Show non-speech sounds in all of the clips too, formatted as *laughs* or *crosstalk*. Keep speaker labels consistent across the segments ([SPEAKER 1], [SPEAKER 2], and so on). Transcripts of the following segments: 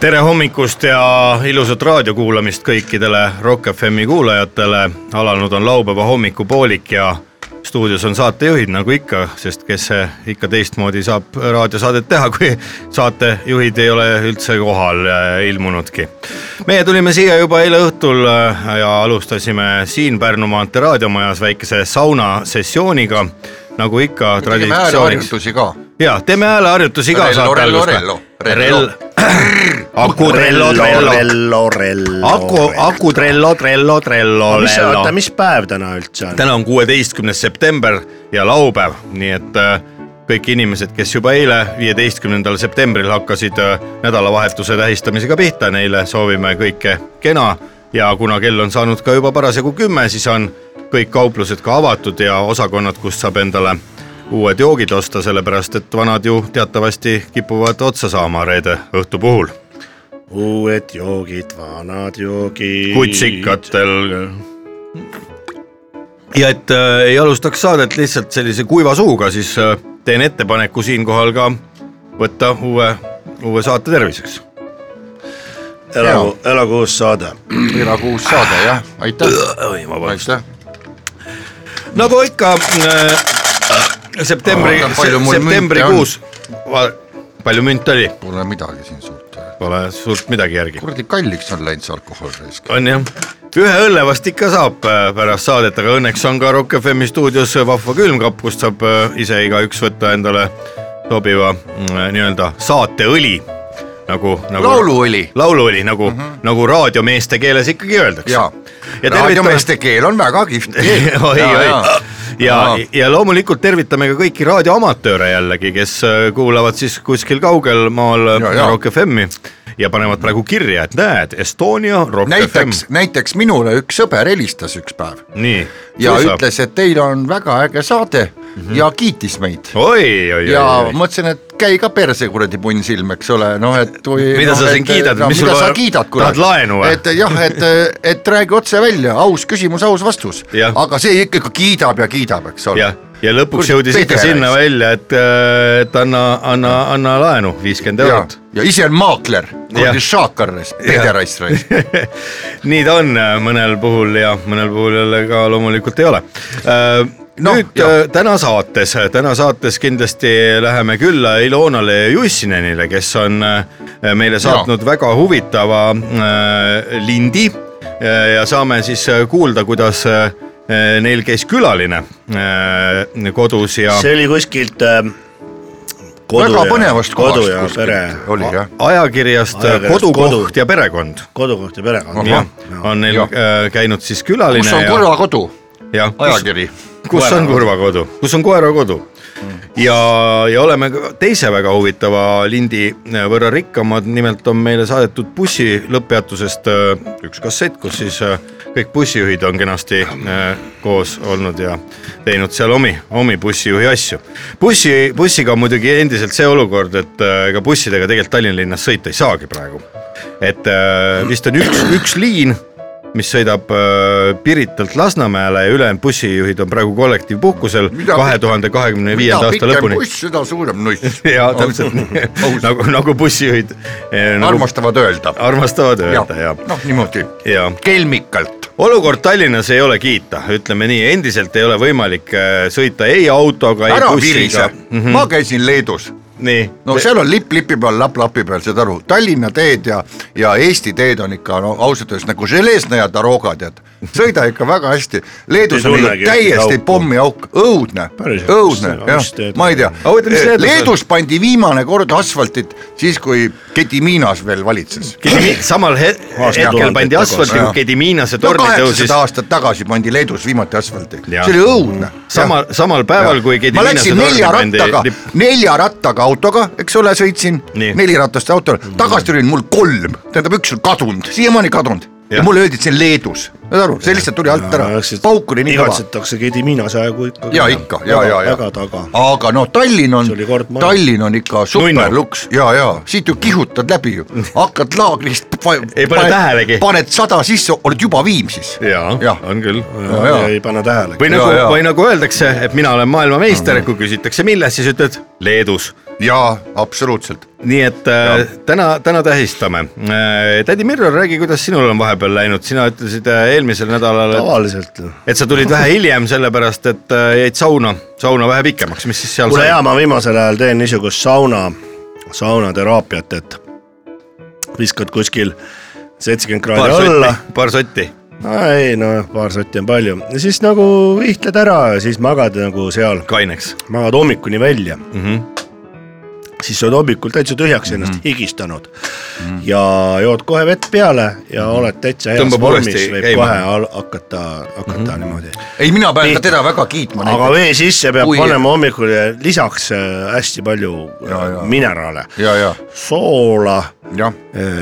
[SPEAKER 1] tere hommikust ja ilusat raadiokuulamist kõikidele Rock FM-i kuulajatele . alanud on laupäeva hommikupoolik ja stuudios on saatejuhid nagu ikka , sest kes see ikka teistmoodi saab raadiosaadet teha , kui saatejuhid ei ole üldse kohal eh, ilmunudki . meie tulime siia juba eile õhtul eh, ja alustasime siin Pärnu maantee raadiomajas väikese sauna sessiooniga nagu ikka
[SPEAKER 2] tegime
[SPEAKER 1] traditsiooniks .
[SPEAKER 2] hääleharjutusi ka .
[SPEAKER 1] ja teeme hääleharjutusi ka
[SPEAKER 2] Rello, rello, rello, rello.
[SPEAKER 1] Rell- , *clears throat* aku rello , trello ,
[SPEAKER 3] rello , rello .
[SPEAKER 1] aku , aku trello , trello , trello ,
[SPEAKER 3] mis see , oota ,
[SPEAKER 1] rello .
[SPEAKER 3] mis päev täna üldse on ?
[SPEAKER 1] täna on kuueteistkümnes september ja laupäev , nii et äh, kõik inimesed , kes juba eile , viieteistkümnendal septembril hakkasid äh, nädalavahetuse tähistamisega pihta , neile soovime kõike kena ja kuna kell on saanud ka juba parasjagu kümme , siis on kõik kauplused ka avatud ja osakonnad , kust saab endale uued joogid osta , sellepärast et vanad ju teatavasti kipuvad otsa saama reede õhtu puhul .
[SPEAKER 3] uued joogid , vanad joogid .
[SPEAKER 1] kutsikatel . ja et äh, ei alustaks saadet lihtsalt sellise kuiva suuga , siis äh, teen ettepaneku siinkohal ka võtta uue , uue saate terviseks .
[SPEAKER 3] elagu , elagu uus saade .
[SPEAKER 2] elagu uus saade jah , aitäh ,
[SPEAKER 1] oi , vabandust .
[SPEAKER 2] aitäh .
[SPEAKER 1] nagu ikka äh, septembri
[SPEAKER 2] Vaatan, , palju mul
[SPEAKER 1] septembrikuus , palju münte oli ?
[SPEAKER 2] Pole midagi siin suurt .
[SPEAKER 1] Pole suurt midagi järgi .
[SPEAKER 2] kuradi kalliks on läinud see alkohol raisk .
[SPEAKER 1] on jah , ühe õlle vast ikka saab äh, pärast saadet , aga õnneks on ka Rock FM-i stuudios äh, vahva külmkapp , kust saab äh, ise igaüks võtta endale sobiva mm, nii-öelda saateõli nagu , nagu .
[SPEAKER 2] Lauluõli. Mhm.
[SPEAKER 1] lauluõli nagu mm , -hmm. nagu raadiomeeste keeles ikkagi öeldakse .
[SPEAKER 2] jaa ,
[SPEAKER 1] ja tervitame
[SPEAKER 2] raadiomeeste keel on väga
[SPEAKER 1] *laughs*
[SPEAKER 2] kihvt
[SPEAKER 1] oi ,
[SPEAKER 2] keel .
[SPEAKER 1] oi , ja , ja loomulikult tervitame ka kõiki raadioamatööre jällegi , kes äh, kuulavad siis kuskil kaugel maal
[SPEAKER 2] Ja, ja.
[SPEAKER 1] Rock FM-i ja panevad praegu kirja , et näed , Estonia Rock
[SPEAKER 2] näiteks , näiteks minule üks sõber helistas üks päev
[SPEAKER 1] FM . nii .
[SPEAKER 2] ja Suisa. ütles , et teil on väga äge saade mm -hmm. ja kiitis meid .
[SPEAKER 1] Mhm. oi , oi ,
[SPEAKER 2] ja
[SPEAKER 1] oi , oi ,
[SPEAKER 2] mõtlesin , et käi ka perse kuradi punn silm , eks ole , noh et või
[SPEAKER 1] Mida
[SPEAKER 2] noh,
[SPEAKER 1] sa
[SPEAKER 2] et-
[SPEAKER 1] siin kiidad,
[SPEAKER 2] no,
[SPEAKER 1] mis sul
[SPEAKER 2] mida sa
[SPEAKER 1] vaja-
[SPEAKER 2] kiidad ,
[SPEAKER 1] tahad laenu või?
[SPEAKER 2] et jah , et , et räägi otse välja , aus küsimus , aus vastus
[SPEAKER 1] Jah. .
[SPEAKER 2] aga see ikka kiidab ja kiidab , eks ole
[SPEAKER 1] ja , ja lõpuks
[SPEAKER 2] Kuradi
[SPEAKER 1] jõudis ikka
[SPEAKER 2] peder,
[SPEAKER 1] sinna
[SPEAKER 2] eks.
[SPEAKER 1] välja , et , et anna , anna , anna laenu viiskümmend
[SPEAKER 2] ja,
[SPEAKER 1] eurot .
[SPEAKER 2] ja ise on maakler ,
[SPEAKER 1] Jah.
[SPEAKER 2] kuradi šaakar , pederast raisk .
[SPEAKER 1] *laughs* nii ta on äh, mõnel puhul ja mõnel puhul jälle ka loomulikult ei ole . No,
[SPEAKER 2] Noh,
[SPEAKER 1] nüüd
[SPEAKER 2] jah.
[SPEAKER 1] äh, täna saates , täna saates kindlasti läheme külla Ilonale ja Jussinenile , kes on äh, meile saatnud väga huvitava äh, lindi äh, ja saame siis äh, kuulda , kuidas äh, neil käis külaline äh, kodus ja
[SPEAKER 3] see oli kuskilt ähm, kodu
[SPEAKER 2] väga
[SPEAKER 3] ja-
[SPEAKER 2] põnevast
[SPEAKER 3] kodu
[SPEAKER 2] kohast
[SPEAKER 3] ja pere ,
[SPEAKER 2] oli jah ,
[SPEAKER 1] ajakirjast, ajakirjast
[SPEAKER 3] Ajakirjast
[SPEAKER 1] Kodukoht
[SPEAKER 3] Kodu.
[SPEAKER 1] kodu. ja perekond .
[SPEAKER 3] kodukoht ja perekond .
[SPEAKER 1] jah , on neil
[SPEAKER 2] Jah.
[SPEAKER 1] äh, käinud siis külaline
[SPEAKER 2] kus on Korva kodu ,
[SPEAKER 1] ja, ja
[SPEAKER 2] ajakiri .
[SPEAKER 1] kus on kurva kodu , kus on koera kodu ja , ja oleme ka teise väga huvitava lindi äh, võrra rikkamad , nimelt on meile saadetud bussi lõpppeatusest äh, üks kassett , kus siis äh, kõik bussijuhid on kenasti äh, koos olnud ja teinud seal omi , omi bussijuhi asju . bussi , bussiga on muidugi endiselt see olukord , et äh, ega bussidega tegelikult Tallinna linnas sõita ei saagi praegu . et äh, vist on üks , üks liin mis sõidab äh, Piritalt Lasnamäele ja ülejäänud bussijuhid on praegu kollektiivpuhkusel
[SPEAKER 2] Mida-
[SPEAKER 1] kahe tuhande kahekümne viienda aasta lõpuni . *laughs*
[SPEAKER 2] buss , seda suurem nuss .
[SPEAKER 1] ja
[SPEAKER 2] *laughs*
[SPEAKER 1] täpselt nii , nagu , nagu bussijuhid eh, nagu
[SPEAKER 2] armastavad öelda .
[SPEAKER 1] armastavad öelda ja ,
[SPEAKER 2] noh , niimoodi
[SPEAKER 1] ja
[SPEAKER 2] kelmikalt .
[SPEAKER 1] olukord Tallinnas ei ole kiita , ütleme nii , endiselt ei ole võimalik eh, sõita ei autoga , ei
[SPEAKER 2] ära virise
[SPEAKER 1] bussiga . Mhm.
[SPEAKER 2] mm , -hmm. ma käisin Leedus ,
[SPEAKER 1] nii
[SPEAKER 2] no seal on lipp lipi peal , lapp lapi peal , saad aru , Tallinna teed ja , ja Eesti teed on ikka no ausalt öeldes nagu železnaja tarogad , et sõida ikka väga hästi . Leedus
[SPEAKER 3] Ei
[SPEAKER 2] on
[SPEAKER 3] tunnegi
[SPEAKER 2] ikka täiesti
[SPEAKER 3] auku.
[SPEAKER 2] pommiauk , õudne ,
[SPEAKER 3] Päriselt,
[SPEAKER 2] õudne
[SPEAKER 3] mis- ,
[SPEAKER 2] jah
[SPEAKER 3] mis teed ,
[SPEAKER 2] ma ei tea
[SPEAKER 1] Aga huvitav, mis . Leedus on?
[SPEAKER 2] Leedus pandi viimane kord asfaltit siis , kui Gediminas veel valitses .
[SPEAKER 1] Kedimi- samal
[SPEAKER 2] *laughs*
[SPEAKER 1] he-
[SPEAKER 3] Aasta
[SPEAKER 1] hetkel
[SPEAKER 3] tuhandet
[SPEAKER 1] pandi
[SPEAKER 3] tagasi.
[SPEAKER 1] asfalti ,
[SPEAKER 2] Jah.
[SPEAKER 1] kui Gedimiinase
[SPEAKER 2] no
[SPEAKER 1] torni tõusis
[SPEAKER 2] kaheksasada aastat tagasi pandi Leedus viimati asfalti ,
[SPEAKER 1] Jah.
[SPEAKER 2] see oli õudne .
[SPEAKER 1] samal , samal päeval , kui
[SPEAKER 2] ma
[SPEAKER 1] Gedimiinase
[SPEAKER 2] läksin
[SPEAKER 1] torni
[SPEAKER 2] nelja
[SPEAKER 1] pandi
[SPEAKER 2] rattaga
[SPEAKER 1] lipp ,,
[SPEAKER 2] nelja rattaga autoga , eks ole , sõitsin
[SPEAKER 1] Nii. Mm.
[SPEAKER 2] nelirataste autol , tagasi tulin mul kolm , tähendab , üks on kadunud , siiamaani kadunud ja,
[SPEAKER 1] Jah.
[SPEAKER 2] ja mulle öeldi , et see on Leedus . saad aru , see lihtsalt tuli alt ära , pauk oli nii kõva .
[SPEAKER 3] igatsetakse kediminase aegu ikka .
[SPEAKER 2] ja ikka , ja , ja , ja
[SPEAKER 3] väga taga .,
[SPEAKER 2] aga no Tallinn on
[SPEAKER 3] See oli kord maja. ,
[SPEAKER 2] Tallinn on ikka
[SPEAKER 1] Nunnu.
[SPEAKER 2] superluks ja , ja siit ju kihutad läbi
[SPEAKER 1] *laughs*
[SPEAKER 2] ju , hakkad laagrist .
[SPEAKER 1] Ei pane tähelegi.
[SPEAKER 2] paned sada sisse , oled juba Viimsis .
[SPEAKER 1] jaa
[SPEAKER 2] Jah. ,
[SPEAKER 1] on küll
[SPEAKER 2] Ja, ja.
[SPEAKER 3] ei pane tähele .
[SPEAKER 1] või nagu
[SPEAKER 2] Jaa, jaa. ,
[SPEAKER 1] või nagu öeldakse , et mina olen maailmameister , kui küsitakse milles , siis ütled Leedus .
[SPEAKER 2] jaa , absoluutselt .
[SPEAKER 1] nii et äh, täna , täna tähistame . tädi Mirro , räägi , kuidas sinul on vahepeal läinud , sina ütlesid äh, eelmisel nädalal , et,
[SPEAKER 3] tavaliselt .
[SPEAKER 1] et sa tulid vähe hiljem , sellepärast et äh, jäid sauna , sauna vähe pikemaks , mis siis seal
[SPEAKER 3] kuule
[SPEAKER 1] sai
[SPEAKER 3] jaa ,? ma viimasel ajal teen niisugust sauna , saunateraapiat , et viskad kuskil seitsekümmend
[SPEAKER 1] paar
[SPEAKER 3] kraadi alla
[SPEAKER 1] sotti , paar sotti .
[SPEAKER 3] ei no paar sotti on palju , siis nagu vihtled ära ja siis magad nagu seal ,
[SPEAKER 1] kaineks
[SPEAKER 3] magad hommikuni välja ,
[SPEAKER 1] mm . -hmm.
[SPEAKER 3] siis sa oled hommikul täitsa tühjaks ennast mm -hmm. higistanud mm -hmm. ja jood kohe vett peale ja oled täitsa heas
[SPEAKER 1] Tõmbab
[SPEAKER 3] vormis ,
[SPEAKER 1] uuesti
[SPEAKER 3] võib
[SPEAKER 1] käima.
[SPEAKER 3] kohe al- hakata , hakata mm -hmm. niimoodi .
[SPEAKER 2] ei , mina pean ka
[SPEAKER 3] Lihtne.
[SPEAKER 2] teda väga kiitma .
[SPEAKER 3] aga vee sisse peab
[SPEAKER 2] Kui-
[SPEAKER 3] Kui... panema hommikul ja lisaks äh, hästi palju
[SPEAKER 2] Jaa,
[SPEAKER 3] ja,
[SPEAKER 2] jaa.
[SPEAKER 3] mineraale ,
[SPEAKER 2] ja , ja ,
[SPEAKER 3] soola ,
[SPEAKER 2] jah ,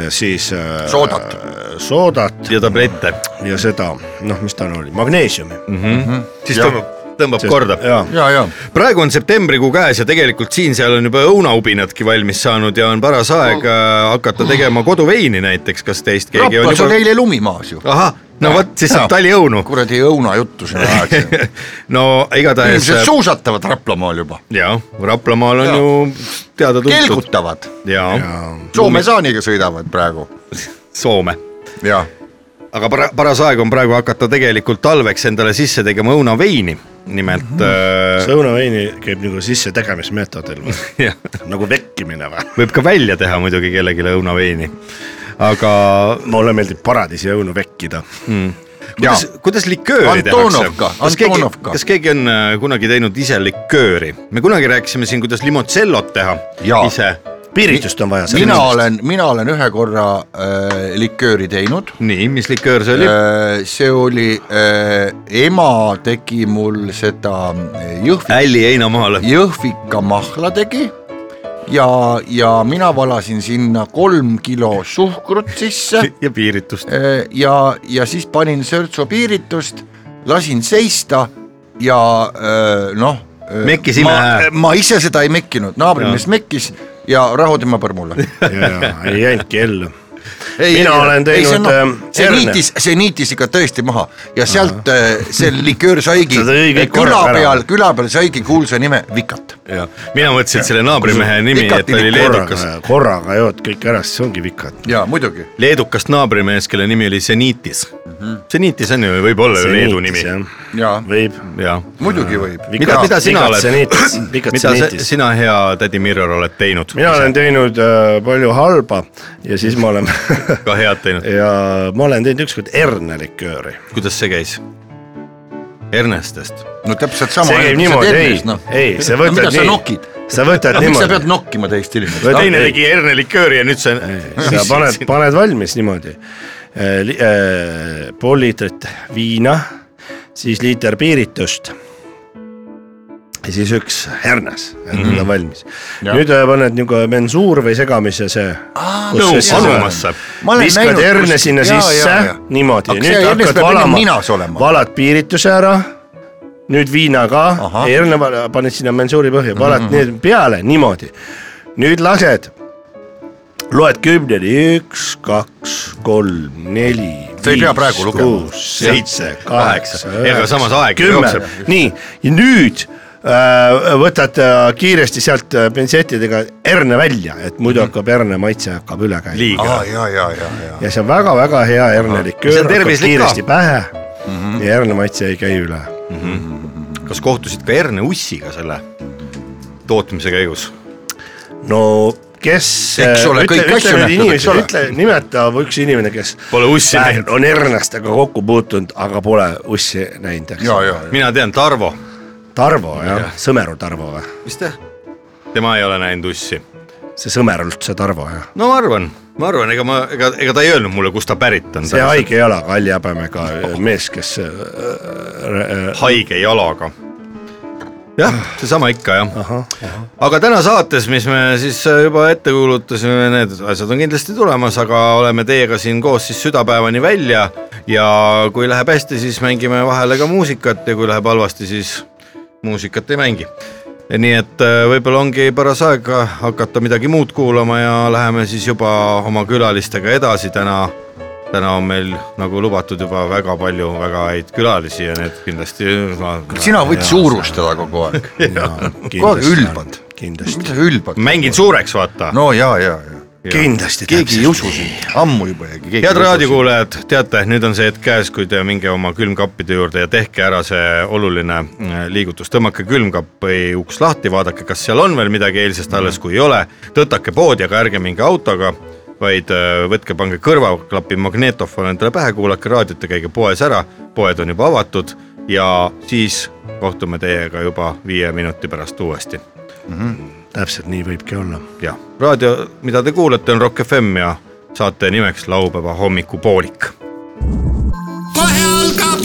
[SPEAKER 3] siis äh,
[SPEAKER 2] Soodat. ,
[SPEAKER 3] soodat
[SPEAKER 1] ja tablette
[SPEAKER 3] ja seda , noh , mis ta oli , magneesiumi mm .
[SPEAKER 1] mm . -hmm. siis
[SPEAKER 2] Jah.
[SPEAKER 1] tõmbab , tõmbab korda .
[SPEAKER 3] jaa ,
[SPEAKER 2] ja , ja
[SPEAKER 1] praegu on septembrikuu käes ja tegelikult siin-seal on juba õunaubinadki valmis saanud ja on paras aeg äh, hakata tegema koduveini näiteks , kas teist keegi on
[SPEAKER 2] Raplas on
[SPEAKER 1] juba . Ah.
[SPEAKER 2] eile lumi maas ju .
[SPEAKER 1] ahah , no vot , siis saab taliõunu . *laughs*
[SPEAKER 2] kuradi õunajuttu sinna ajatakse .
[SPEAKER 1] no igatahes äh,
[SPEAKER 2] inimesed suusatavad Raplamaal juba ,
[SPEAKER 1] ja Raplamaal on
[SPEAKER 2] Jaa.
[SPEAKER 1] ju teada-tuntud
[SPEAKER 2] kelgutavad ,
[SPEAKER 1] ja
[SPEAKER 2] Soome saaniga sõidavad praegu
[SPEAKER 1] Soome
[SPEAKER 2] ja
[SPEAKER 1] aga para- , paras aeg on praegu hakata tegelikult talveks endale sisse tegema õunaveini , nimelt
[SPEAKER 2] Mhm.
[SPEAKER 1] mm
[SPEAKER 3] sõunaveini käib nagu sisse tegemismeetodil või *laughs*
[SPEAKER 1] -hmm.
[SPEAKER 3] nagu vekkimine või ?
[SPEAKER 1] võib ka välja teha muidugi kellelegi õunaveini , aga
[SPEAKER 3] mulle meeldib paradiisi õunu vekkida .
[SPEAKER 1] kuidas
[SPEAKER 2] Jaa. ,
[SPEAKER 1] kuidas likööri tehakse
[SPEAKER 2] Antonovka, ?
[SPEAKER 1] kas keegi
[SPEAKER 2] Antonovka. ,
[SPEAKER 1] kas keegi on äh, kunagi teinud ise likööri ? me kunagi rääkisime siin , kuidas limotsellot teha
[SPEAKER 2] Jaa.
[SPEAKER 1] ise .
[SPEAKER 3] piiritust on vaja .
[SPEAKER 2] mina . olen , mina olen ühe korra äh, likööri teinud .
[SPEAKER 1] nii , mis liköör see
[SPEAKER 2] Äh.
[SPEAKER 1] oli ?
[SPEAKER 2] see oli äh, , ema tegi mul seda äh, jõhvi ,
[SPEAKER 1] älli heinamaale .
[SPEAKER 2] jõhvikamahla tegi ja , ja mina valasin sinna kolm kilo suhkrut sisse
[SPEAKER 1] ja piiritust .
[SPEAKER 2] äh, ja , ja siis panin sörtsu piiritust , lasin seista ja äh, noh .
[SPEAKER 1] Mekkis
[SPEAKER 2] ma äh,
[SPEAKER 1] imeäär. ,
[SPEAKER 2] ma ise seda ei mekkinud , naabrimees mekkis ja rahu tema põrmule
[SPEAKER 3] ei jäänudki ellu .
[SPEAKER 2] ei,
[SPEAKER 3] *laughs* Mina olen teinud,
[SPEAKER 2] see, on- noh,
[SPEAKER 3] ähm,
[SPEAKER 2] see
[SPEAKER 3] herne.
[SPEAKER 2] niitis , see niitis ikka tõesti maha ja sealt äh, see liköör saigi
[SPEAKER 3] *laughs*
[SPEAKER 2] äh,
[SPEAKER 3] See tõi kõik
[SPEAKER 2] küla
[SPEAKER 3] korraga ära.
[SPEAKER 2] peal , küla peal saigi kuulsa nime Vikat .
[SPEAKER 1] mina mõtlesin , et selle naabrimehe nimi , et
[SPEAKER 2] Vikati
[SPEAKER 1] oli
[SPEAKER 2] liköör.
[SPEAKER 1] leedukas ,
[SPEAKER 3] korraga jood kõik ära , siis ongi vikad .
[SPEAKER 2] ja muidugi .
[SPEAKER 1] leedukast naabrimehest , kelle nimi oli Zenitis .
[SPEAKER 3] Mhm.
[SPEAKER 1] Zenitis on ju , võib olla ju Leedu nimi .
[SPEAKER 2] ja
[SPEAKER 3] võib .
[SPEAKER 1] jah .
[SPEAKER 2] muidugi võib .
[SPEAKER 1] mida , mida sina oled , *clears throat*
[SPEAKER 3] vikad
[SPEAKER 1] mida sa-
[SPEAKER 3] seniitis .
[SPEAKER 1] sina , hea tädi Mirror , oled teinud ?
[SPEAKER 3] mina olen teinud äh, palju halba ja siis ma olen *laughs*
[SPEAKER 1] ka head teinud .
[SPEAKER 3] ja ma olen teinud ükskord hernelikööri .
[SPEAKER 1] kuidas see käis ? Ernestest
[SPEAKER 2] no täpselt sama .
[SPEAKER 3] see käib niimoodi , ei , ei , sa võtad
[SPEAKER 2] mida sa
[SPEAKER 3] nii
[SPEAKER 2] nokid ?,
[SPEAKER 3] sa võtad
[SPEAKER 2] noh. miks sa
[SPEAKER 3] niimoodi
[SPEAKER 2] pead nokkima teist inimest ?
[SPEAKER 3] Või
[SPEAKER 1] no, .
[SPEAKER 3] No,
[SPEAKER 1] teine
[SPEAKER 3] ei.
[SPEAKER 1] tegi hernelikööri ja nüüd see .
[SPEAKER 3] sa paned , paned valmis niimoodi Eh, li- eh, pool liitrit viina , siis liiter piiritust . ja siis üks hernes , et mm -hmm. on valmis . nüüd eh, paned niisugune mensuur või segamise see .
[SPEAKER 1] nõus , anumasse .
[SPEAKER 3] viskad herne sinna sisse , niimoodi ,
[SPEAKER 2] Aga see
[SPEAKER 3] nüüd
[SPEAKER 2] hernes peab
[SPEAKER 3] hakkad
[SPEAKER 2] enne
[SPEAKER 3] valama
[SPEAKER 2] ninas olema. ,
[SPEAKER 3] valad piirituse ära nüüd viina ka
[SPEAKER 2] Ahah. , Mhm.
[SPEAKER 3] herne vala- paned sinna mensuuri põhja , valad mm -hmm. need peale niimoodi . nüüd lased loed kümneni , üks , kaks , kolm , neli ,
[SPEAKER 2] Sa ei pea praegu
[SPEAKER 3] viis ,
[SPEAKER 2] lugema.
[SPEAKER 3] kuus , seitse , kaheksa ,
[SPEAKER 1] Ei, aga samas aeg
[SPEAKER 3] kümme
[SPEAKER 1] jookseb. ,
[SPEAKER 3] nii , ja nüüd äh, võtad äh, kiiresti sealt äh, pintsettidega herne välja , et muidu hakkab herne maitse hakkab üle käima .
[SPEAKER 2] aa
[SPEAKER 1] Mhm. liiga .
[SPEAKER 2] ja , ja , ja , ja .
[SPEAKER 3] ja see on väga-väga hea hernelikör ,
[SPEAKER 1] See on
[SPEAKER 3] hakkab
[SPEAKER 1] tervislik
[SPEAKER 3] kiiresti
[SPEAKER 1] ka.
[SPEAKER 3] pähe mm -hmm. ja herne maitse ei käi üle .
[SPEAKER 1] kas kohtusid ka Erne Ussiga selle tootmise käigus ?
[SPEAKER 3] no kes ,
[SPEAKER 2] Eks ole,
[SPEAKER 3] ütle ,
[SPEAKER 2] kõiki asju
[SPEAKER 3] ütle nüüd
[SPEAKER 2] nähtud, eks
[SPEAKER 3] inimesi ,
[SPEAKER 2] ole.
[SPEAKER 3] ütle , nimeta üks inimene , kes
[SPEAKER 1] Pole ussi
[SPEAKER 3] vähe-
[SPEAKER 1] näinud.
[SPEAKER 3] on hernastega kokku puutunud , aga pole ussi näinud , eks
[SPEAKER 2] ja , ja ,
[SPEAKER 1] mina tean , Tarvo .
[SPEAKER 3] Tarvo jah , Sõmeru Tarvo või ?
[SPEAKER 1] mis te ? tema ei ole näinud Ussi .
[SPEAKER 3] see Sõmerult see Tarvo jah .
[SPEAKER 1] no ma arvan , ma arvan , ega ma , ega , ega ta ei öelnud mulle , kust ta pärit on .
[SPEAKER 3] see haige jalaga halli habemega mees , kes äh, äh,
[SPEAKER 1] haige jalaga . jah , seesama ikka jah .
[SPEAKER 3] ahah ,
[SPEAKER 1] aga täna saates , mis me siis äh, juba ette kuulutasime , need asjad on kindlasti tulemas , aga oleme teiega siin koos siis südapäevani välja ja kui läheb hästi , siis mängime vahele ka muusikat ja kui läheb halvasti , siis muusikat ei mängi . nii et äh, võib-olla ongi paras aeg ka hakata midagi muud kuulama ja läheme siis juba oma külalistega edasi täna täna on meil nagu lubatud juba väga palju väga häid külalisi ja need kindlasti .
[SPEAKER 2] sina võid suurustada kogu aeg , kogu aeg ülbad ,
[SPEAKER 3] kindlasti ,
[SPEAKER 2] mida sa ülbad ?
[SPEAKER 1] mängin suureks , vaata .
[SPEAKER 2] no ja , ja , ja
[SPEAKER 3] kindlasti .
[SPEAKER 2] keegi ei usu sind , ammu juba keegi ei
[SPEAKER 1] head
[SPEAKER 2] usu
[SPEAKER 1] raadiokuulajad , teate , nüüd on see hetk käes , kui te minge oma külmkappide juurde ja tehke ära see oluline äh, liigutus , tõmmake külmkapi uks lahti , vaadake , kas seal on veel midagi eilsest alles , kui ei ole , tõtake poodi , aga ärge minge autoga , vaid äh, võtke , pange kõrvaklapi magnetofon endale pähe , kuulake raadiot ja käige poes ära , poed on juba avatud ja siis kohtume teiega juba viie minuti pärast uuesti .
[SPEAKER 3] täpselt nii võibki olla .
[SPEAKER 1] jah , raadio , mida te kuulate , on Rock FM ja saate nimeks laupäeva hommikupoolik
[SPEAKER 4] kohe algab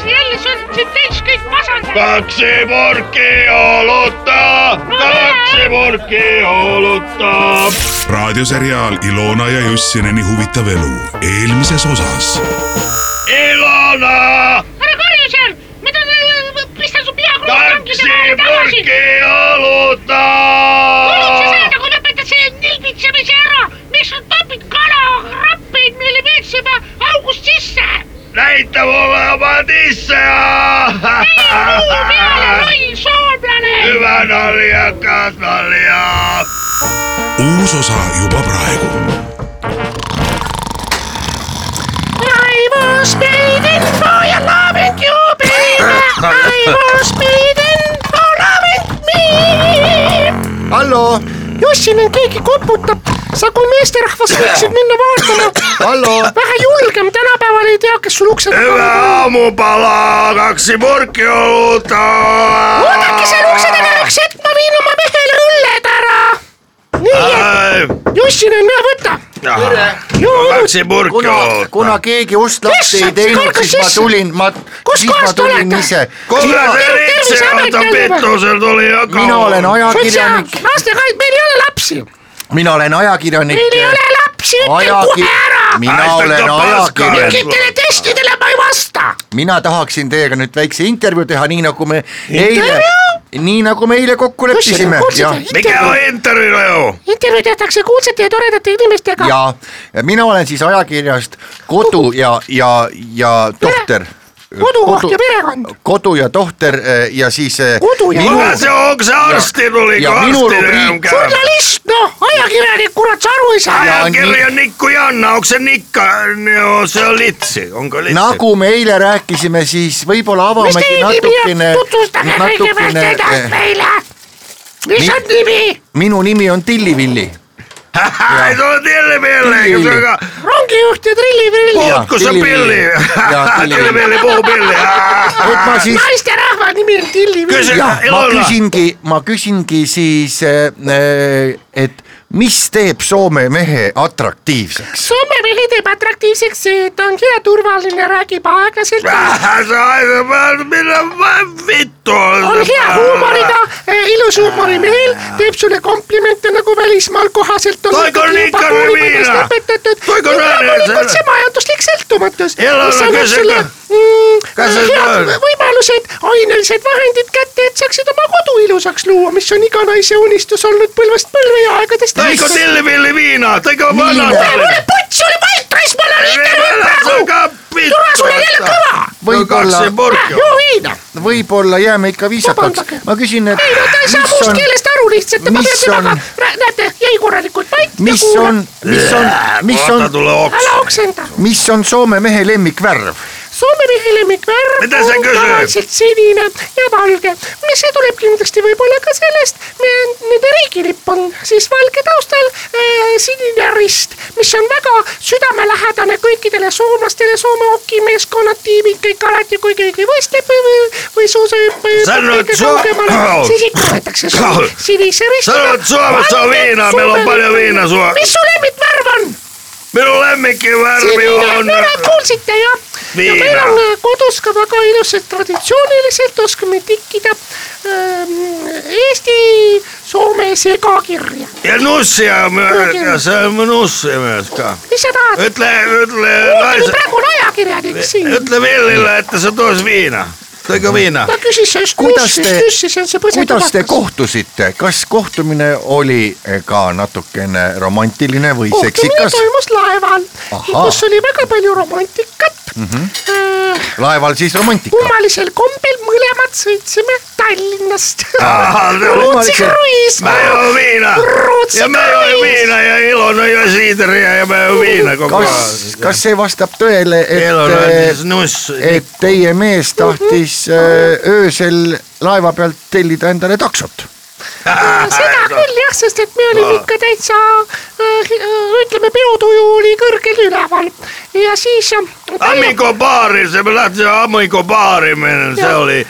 [SPEAKER 5] sa jälle , sa oled siin täis kõik masendanud .
[SPEAKER 6] raadioseriaal Ilona ja Jussineni huvitav elu eelmises osas .
[SPEAKER 5] ära karju seal , ma tahan , pista su pea kruusankis ja lähen tagasi . kuulitse seda , kui lõpetad selle nilbitsemise ära , miks sa topid kalakrappeid meile veetsema august sisse ? näita mulle oma tisse . ei , muu peale , loll soomlane .
[SPEAKER 6] uus osa juba praegu .
[SPEAKER 5] I was made in for your loving you, baby . I was made in for loving me .
[SPEAKER 2] sind . halloo ,
[SPEAKER 5] Jussinen keegi koputab , sa kui meesterahvas võiksid minna vaatama .
[SPEAKER 2] halloo ,
[SPEAKER 5] vähe julgem , tänapäeval ei tea , kes sul ukse taga on .
[SPEAKER 1] aamupala , kaksi purki uut .
[SPEAKER 5] oodake seal ukse taga üks hetk , ma viin oma mehele õlled ära . nii , Jussinen , näe , võta .
[SPEAKER 1] kaksi purki
[SPEAKER 2] kuna , kuna keegi ust lahti ei
[SPEAKER 5] Issand,
[SPEAKER 2] teinud ,
[SPEAKER 5] karkas
[SPEAKER 2] siis ma
[SPEAKER 5] sisse.
[SPEAKER 2] tulin , ma ,
[SPEAKER 5] Kus
[SPEAKER 2] siis ma
[SPEAKER 5] kohast
[SPEAKER 2] tulin
[SPEAKER 5] olete?
[SPEAKER 2] ise .
[SPEAKER 1] pettusel tuli aga .
[SPEAKER 2] mina olen ajakirjanik ,
[SPEAKER 5] lastekaitse , meil ei ole lapsi ,
[SPEAKER 2] mina olen ajakirjanik .
[SPEAKER 5] meil ei ole lapsi , ütlen
[SPEAKER 2] Ajaki-
[SPEAKER 5] kohe ära .
[SPEAKER 2] mina
[SPEAKER 1] Hästi,
[SPEAKER 2] olen
[SPEAKER 1] ka paska.
[SPEAKER 2] ajakirjanik ,
[SPEAKER 5] mingitele testidele ma ei vasta
[SPEAKER 2] mina tahaksin teiega nüüd väikse intervjuu teha , nii nagu me eile , nii nagu me eile kokku leppisime ja ,
[SPEAKER 1] minge
[SPEAKER 5] intervjuu ,
[SPEAKER 1] intervjuule ju .
[SPEAKER 5] intervjuu tehtakse kuulsate ja toredate inimestega .
[SPEAKER 2] ja mina olen siis ajakirjast Kodu ja , ja , ja tohter .
[SPEAKER 5] kodukoht ja perekond. .
[SPEAKER 2] kodu ja tohter eh, ja siis .
[SPEAKER 5] Kodu ja
[SPEAKER 2] minu
[SPEAKER 5] tohter. ,
[SPEAKER 1] jook , see arsti tuli ,
[SPEAKER 2] ja minu rubriik-
[SPEAKER 5] žurnalist , noh , ajakirjanik , kurat , sa aru ei saa .
[SPEAKER 2] Ja- niin.
[SPEAKER 1] kirjanikku ei anna , onko se nikka , se on litsi , onko litsi ?
[SPEAKER 2] nagu me eile rääkisime , siis võib-olla
[SPEAKER 5] mis
[SPEAKER 2] avamegi
[SPEAKER 5] teie nimi on
[SPEAKER 2] natukene ,,
[SPEAKER 5] tutvustage kõigepealt
[SPEAKER 2] natukene ,
[SPEAKER 5] ennast
[SPEAKER 2] eh,
[SPEAKER 5] meile . mis
[SPEAKER 2] mi-
[SPEAKER 5] on nimi ,
[SPEAKER 2] minu nimi on Tillivilli .
[SPEAKER 1] ei tule tilli peale ,
[SPEAKER 2] Tilli.
[SPEAKER 1] ega sa ka ,
[SPEAKER 5] rongijuht ja trilliprill ,
[SPEAKER 2] Jaa,
[SPEAKER 1] ootku sa
[SPEAKER 2] tillivilli.
[SPEAKER 1] *laughs* pilli
[SPEAKER 2] Jaa, , tillivilli.
[SPEAKER 1] tilli peale , puu pilli .
[SPEAKER 2] et ma siis ,
[SPEAKER 5] naisterahva nimi on Tilli Vill .
[SPEAKER 1] küsi
[SPEAKER 2] jah , ma
[SPEAKER 1] Ilona ,
[SPEAKER 2] küsingi , ma küsingi siis , et mis teeb Soome mehe atraktiivseks ?
[SPEAKER 5] Soome mehi teeb atraktiivseks see , et ta on hea turvaline , räägib aeglaselt ,
[SPEAKER 1] sa ajad , mille vittu .
[SPEAKER 5] on hea huumoriga , ilus huumorimeel , teeb sulle komplimente nagu välismaal kohaselt on .
[SPEAKER 1] Toiko Nikkonen Miina! Toiko Nõmme-
[SPEAKER 5] loomulikult see majanduslik sõltumatus ,
[SPEAKER 1] Elana
[SPEAKER 5] mis
[SPEAKER 2] nagu
[SPEAKER 5] annab
[SPEAKER 1] küsige-
[SPEAKER 5] sulle
[SPEAKER 1] Kas
[SPEAKER 5] mm,
[SPEAKER 1] see
[SPEAKER 5] head
[SPEAKER 1] on-
[SPEAKER 5] võimalused , ainelised vahendid kätte , et saaksid oma kodu ilusaks luua , mis on iga naise unistus olnud põlvest põlve ja aegadest .
[SPEAKER 1] Taiko tillipilli viinaa, taiko
[SPEAKER 2] Viinaa.
[SPEAKER 1] banaaneja.
[SPEAKER 5] mul on putš , oli Valtris , mul on intervjuu praegu , tule sul on jälle kõva ,
[SPEAKER 2] võib-olla ,
[SPEAKER 5] joo Hiina
[SPEAKER 2] võib-olla jääme ikka viisakaks
[SPEAKER 5] Vabandage. .
[SPEAKER 2] ma küsin , et
[SPEAKER 5] ei no ta ei saa
[SPEAKER 2] mis
[SPEAKER 5] muust
[SPEAKER 2] on ,
[SPEAKER 5] keelest aru lihtsalt , tema
[SPEAKER 2] mis
[SPEAKER 5] peab temaga
[SPEAKER 2] on- ,
[SPEAKER 5] näete , jäi korralikult vait .
[SPEAKER 2] mis on , mis on , mis on ,
[SPEAKER 1] tule oks .
[SPEAKER 5] ära oksenda ,
[SPEAKER 2] mis on Soome mehe lemmikvärv ?
[SPEAKER 5] Soome närvi lemmikvärv
[SPEAKER 1] Mida sa
[SPEAKER 5] on
[SPEAKER 1] küsid?
[SPEAKER 5] tavaliselt sinine ja valge , mis see tuleb kindlasti võib-olla ka sellest , nende riigilipp on siis valge taustal äh, sinine rist , mis on väga südamelähedane kõikidele soomlastele , Soome hokimeeskonna tiimid kõik alati , kui keegi võistleb või, või, või suusahüppe
[SPEAKER 1] Sa oled soo-
[SPEAKER 5] siis ikka võetakse suu- sinise
[SPEAKER 1] sa
[SPEAKER 5] ristiga .
[SPEAKER 1] oled Soomest , sa viina , meil on palju viina suva .
[SPEAKER 5] mis su lemmikvärv on ?
[SPEAKER 1] minu lemmikvärv ju on
[SPEAKER 5] Sinine, no, kuulsite jah ? ja meil
[SPEAKER 1] Viina.
[SPEAKER 5] on äh, kodus ka väga ilusad traditsiooniliselt oskame tikkida ähm, Eesti-Soome segakirja .
[SPEAKER 1] ja Nussi ja mööda , see on mu Nussi mees ka .
[SPEAKER 5] mis sa tahad ?
[SPEAKER 1] ütle , ütle
[SPEAKER 5] oota ,
[SPEAKER 1] naise ,
[SPEAKER 5] praegu on ajakirjanik siin .
[SPEAKER 1] ütle Villile , et ta toos viina , tõige viina .
[SPEAKER 5] ta küsis ,
[SPEAKER 2] kuidas
[SPEAKER 5] kus ,
[SPEAKER 2] te
[SPEAKER 5] kus , see on see ,
[SPEAKER 2] kuidas te
[SPEAKER 5] põsetubakas .
[SPEAKER 2] kohtusite , kas kohtumine oli ka natukene romantiline või
[SPEAKER 5] kohtumine
[SPEAKER 2] seksikas ?
[SPEAKER 5] toimus laeval ,
[SPEAKER 2] Ahaa.
[SPEAKER 5] kus oli väga palju romantikat mm . -hmm. Äh,
[SPEAKER 2] laeval siis romantika .
[SPEAKER 5] kummalisel kombel mõlemad sõitsime Tallinnast . Rootsi
[SPEAKER 2] kummalisel-
[SPEAKER 5] kruiis .
[SPEAKER 1] me joome viina
[SPEAKER 5] Rootsi
[SPEAKER 1] ja me joome
[SPEAKER 5] kruiis.
[SPEAKER 1] viina ja Ilona ja Siider ja , ja me joome viina kogu aeg .
[SPEAKER 2] kas , kas see vastab tõele ,
[SPEAKER 1] Ilona
[SPEAKER 2] et
[SPEAKER 1] andis , nuss .
[SPEAKER 2] et teie mees tahtis äh, öösel laeva pealt tellida endale taksot ?
[SPEAKER 5] seda Ah, küll jah , sest et me olime ikka täitsa äh, ütleme , peotuju oli kõrgel üleval ja siis . äh,
[SPEAKER 1] Amigo baari , see me lähtisime Amigo baari minna , see oli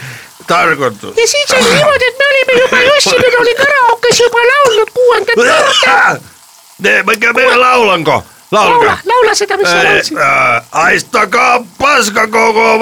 [SPEAKER 1] targutus .
[SPEAKER 5] ja siis oli niimoodi , et me olime juba , Jossil oli karaokes juba laulnud kuuendat korda .
[SPEAKER 1] Nee, mä kävin laulanko? Laulka.
[SPEAKER 5] laula , laula seda , mis sa laulsid .
[SPEAKER 1] Aistakaa paska koko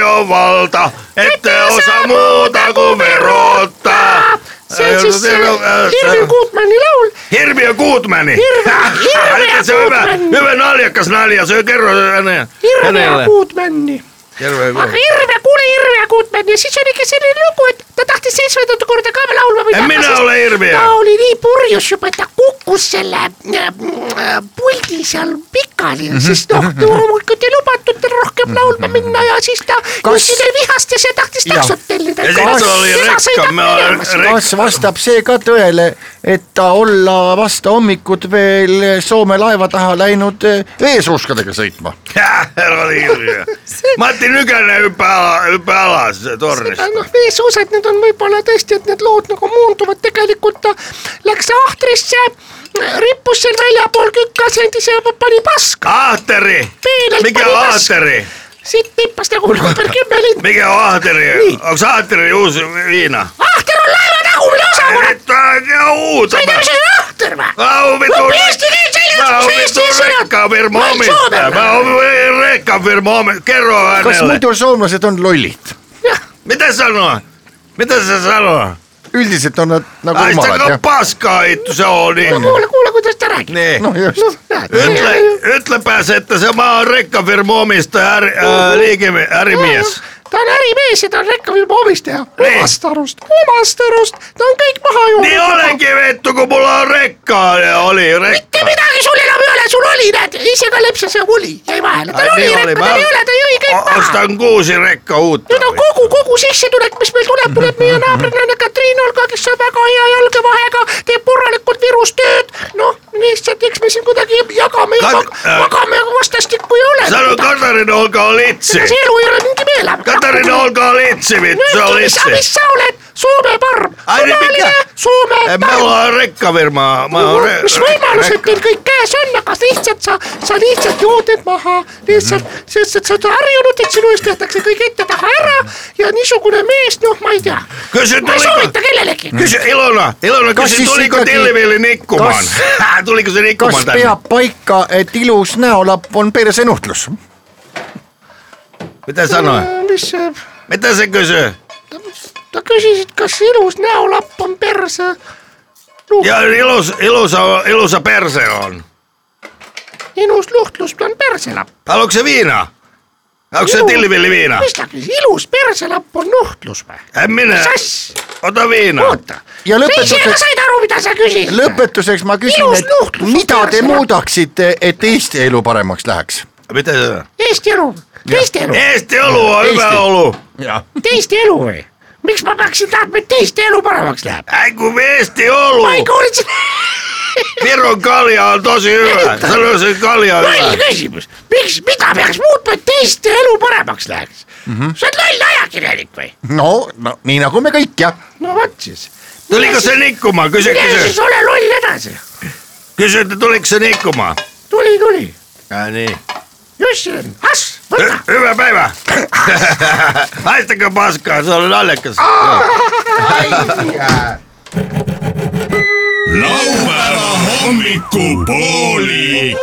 [SPEAKER 1] valtiovalta, ette osaa muuta kuin verottaa.
[SPEAKER 5] see on siis
[SPEAKER 1] Ää, ää,
[SPEAKER 5] äh, Irvin Kuutmanni laul
[SPEAKER 1] Hirviö Kuutmani.
[SPEAKER 5] Hirve- Hirveä
[SPEAKER 1] Älkää se on hyvä,
[SPEAKER 5] Kuutmanni.
[SPEAKER 1] hyvä naljakas nalja, se kerro häne-
[SPEAKER 5] Irve ja
[SPEAKER 1] hänelle.
[SPEAKER 5] Kuutmanni .
[SPEAKER 1] Hirveä
[SPEAKER 5] aga
[SPEAKER 1] Kuutmanni.
[SPEAKER 5] Irve , Ah, kuule Irve ja Kuutmann ja siis oligi selline lugu , et ta tahtis seitsmendat korda ka laulma
[SPEAKER 1] En
[SPEAKER 5] minna .
[SPEAKER 1] minä ole Hirviö.
[SPEAKER 5] ta oli nii purjus juba , et ta kukkus selle äh, äh, puldi seal pikali
[SPEAKER 1] Mhm.
[SPEAKER 5] ja siis noh , loomulikult ei lubatud tal rohkem laulma minna ja siis ta kuskile vihastas ja tahtis taksot tellida .
[SPEAKER 1] Ja sit se oli rekka, me olen rekka.
[SPEAKER 2] kas vastab see ka tõele , et ta olla vastu hommikut veel Soome laeva taha läinud äh, veesuuskadega sõitma ?
[SPEAKER 1] Häh, se oli Hirviö. Matti Nykänen hyppää ala- hyppää alas se tornista.
[SPEAKER 5] seda noh , veesuusad , need on võib-olla tõesti , et need lood nagu muunduvad , tegelikult ta läks ahtrisse , rippus seal väljapool kükkas , andis ja pani paska ,
[SPEAKER 1] Ahteri!
[SPEAKER 5] Piilet
[SPEAKER 1] Mikä on
[SPEAKER 5] panin tasku-
[SPEAKER 1] ahteri?
[SPEAKER 5] siit tippas nagu number kümme lind .
[SPEAKER 1] Mikä on ahteri? Onko ahteri uusi viina?
[SPEAKER 5] ahter on laeva tagumine osa , kurat ,
[SPEAKER 1] Tää on ihan uuta.
[SPEAKER 5] ma ei tea , mis on ahter või ?
[SPEAKER 1] Mä oon vitu...
[SPEAKER 5] Loppu Eesti niin selvästi,
[SPEAKER 1] Mä oon
[SPEAKER 5] se
[SPEAKER 1] vitu
[SPEAKER 5] Eesti sanoo.
[SPEAKER 1] rekkafirma
[SPEAKER 5] Mä oon
[SPEAKER 1] omistaja. Mä oon vi- rekkafirma omistaja. Kerro
[SPEAKER 2] kas
[SPEAKER 1] hänelle.
[SPEAKER 2] muidu soomlased on lollid ?
[SPEAKER 5] jah ,
[SPEAKER 1] Mitä sanoa? Mitä se sanoo?
[SPEAKER 2] üldiselt on nad nagu rumalad
[SPEAKER 1] Aistakaa
[SPEAKER 2] jah .
[SPEAKER 1] paskaa hittu, se on niin.
[SPEAKER 5] no kuule , kuule , kuidas ta räägib .
[SPEAKER 1] Niin.
[SPEAKER 2] noh , just .
[SPEAKER 5] noh ,
[SPEAKER 1] Ytle, ytlepäs, että se mä oon rekkafirma omistaja, äri, ää, liikemi- ärimies.
[SPEAKER 5] ta on ärimees ja ta on rekkafirma omistaja ,
[SPEAKER 1] Nii.
[SPEAKER 5] omast arust , omast arust , ta on kõik maha joonud .
[SPEAKER 1] Niin olenkin vittu, kun mulla on rekkaa ja oli rekka.
[SPEAKER 5] mitte midagi sul enam ei ole , sul oli , näed , ise ka lepsas ja muli jäi vahele , tal
[SPEAKER 1] Ai,
[SPEAKER 5] oli
[SPEAKER 1] niin oli,
[SPEAKER 5] rekka ,
[SPEAKER 1] mä-
[SPEAKER 5] tal ei ole , ta jõi kõik
[SPEAKER 1] O-
[SPEAKER 5] maha .
[SPEAKER 1] Ostan kuusi rekka uutta.
[SPEAKER 5] nüüd on kogu , kogu sissetulek , mis meil tuleb , tuleb
[SPEAKER 1] *laughs*
[SPEAKER 5] meie naabrinaine Katriin Olga , kes on väga hea jalgevahega , teeb korralikult Virus tööd , noh , lihtsalt eks me siin kuidagi jagame ja
[SPEAKER 1] Kat-
[SPEAKER 5] mag-
[SPEAKER 1] äh.
[SPEAKER 5] magame vastastikku ja
[SPEAKER 1] Sano
[SPEAKER 5] oleme .
[SPEAKER 1] Katarina, olkaa litsi.
[SPEAKER 5] see elu ei ole mingi meelev .
[SPEAKER 1] Katarina , olkaa litsi, vittu, se on
[SPEAKER 5] mis sa , mis
[SPEAKER 1] litsi.
[SPEAKER 5] sa oled , Soome parm ,
[SPEAKER 1] Ai, niin
[SPEAKER 5] somaline
[SPEAKER 1] mikä? ,
[SPEAKER 5] Soome
[SPEAKER 1] En mä
[SPEAKER 5] parm .
[SPEAKER 1] ollaan rekkavirmaa. Mä oon re-
[SPEAKER 5] mis võimalused teil kõik käes on , aga lihtsalt sa , sa lihtsalt jood need maha lihtsalt , sest et sa oled harjunud , et sinu eest tehtakse kõik ette taha ära ja niisugune mees , noh , ma ei tea .
[SPEAKER 1] Kysy,
[SPEAKER 5] ma ei
[SPEAKER 1] tuliko...
[SPEAKER 5] soovita kellelegi .
[SPEAKER 1] Kysy, Ilona, Ilona,
[SPEAKER 2] Kas
[SPEAKER 1] kysy,
[SPEAKER 2] siis
[SPEAKER 1] tuliko
[SPEAKER 2] ikkagi-
[SPEAKER 1] Tilvili nikkumaan?
[SPEAKER 2] kas-
[SPEAKER 1] *laughs* Tuliko se nikkumaan
[SPEAKER 2] kas
[SPEAKER 1] tänne?
[SPEAKER 2] peab paika , et ilus näolapp on persenuhtlus ?
[SPEAKER 1] Mitä sanoin?
[SPEAKER 5] mis see ,
[SPEAKER 1] Mitä se kysyy?
[SPEAKER 5] ta küsis , et kas ilus näolapp on perse .
[SPEAKER 1] Ja ilus, ilusa, ilusa perse on.
[SPEAKER 5] ilus luhtlus on perselapp .
[SPEAKER 1] Haluatko se viinaa? Onko se Tilvili viinaa?
[SPEAKER 5] mis ta küsis , ilus perselapp on nuhtlus või ?
[SPEAKER 1] En minä.
[SPEAKER 5] sass ,
[SPEAKER 1] Ota viinaa.
[SPEAKER 5] oota .
[SPEAKER 2] Ja
[SPEAKER 5] sa ise ka
[SPEAKER 2] lõpetuseks-
[SPEAKER 5] said aru , mida sa küsisid .
[SPEAKER 2] lõpetuseks ma küsin ,
[SPEAKER 5] Ilus
[SPEAKER 2] et
[SPEAKER 5] nuhtlus on
[SPEAKER 2] mida te
[SPEAKER 5] persenuhtlus.
[SPEAKER 2] muudaksite , et Eesti elu paremaks läheks ?
[SPEAKER 1] Mitä se on?
[SPEAKER 5] Eesti elu , teiste elu .
[SPEAKER 1] Eesti olu on
[SPEAKER 2] Eesti.
[SPEAKER 1] hyvä olu.
[SPEAKER 5] teiste elu või ? miks ma peaksin tahtma , et teiste elu paremaks läheb ?
[SPEAKER 1] Ei kun Eesti olu.
[SPEAKER 5] ma ei kuulnud seda ,
[SPEAKER 1] Viru kalja on tosi hyvä , seal on see kalja
[SPEAKER 5] loll . küsimus , miks , mida peaks muutma , et teiste elu paremaks läheks mm ? -hmm. sa oled loll ajakirjanik või ?
[SPEAKER 2] no, no nii nagu me kõik jah ,
[SPEAKER 5] no vot siis ,
[SPEAKER 1] tuliko see nikkuma ,
[SPEAKER 5] mine
[SPEAKER 1] küsige
[SPEAKER 5] siis , ole loll edasi .
[SPEAKER 1] küsige , tuliko see nikkuma ?
[SPEAKER 5] tuli , tuli ,
[SPEAKER 1] nii .
[SPEAKER 5] Jussil , as , võta .
[SPEAKER 1] hüve *laughs* päeva . aitäh , Paska , sa oled naljakas .
[SPEAKER 6] laupäeva hommikupooli .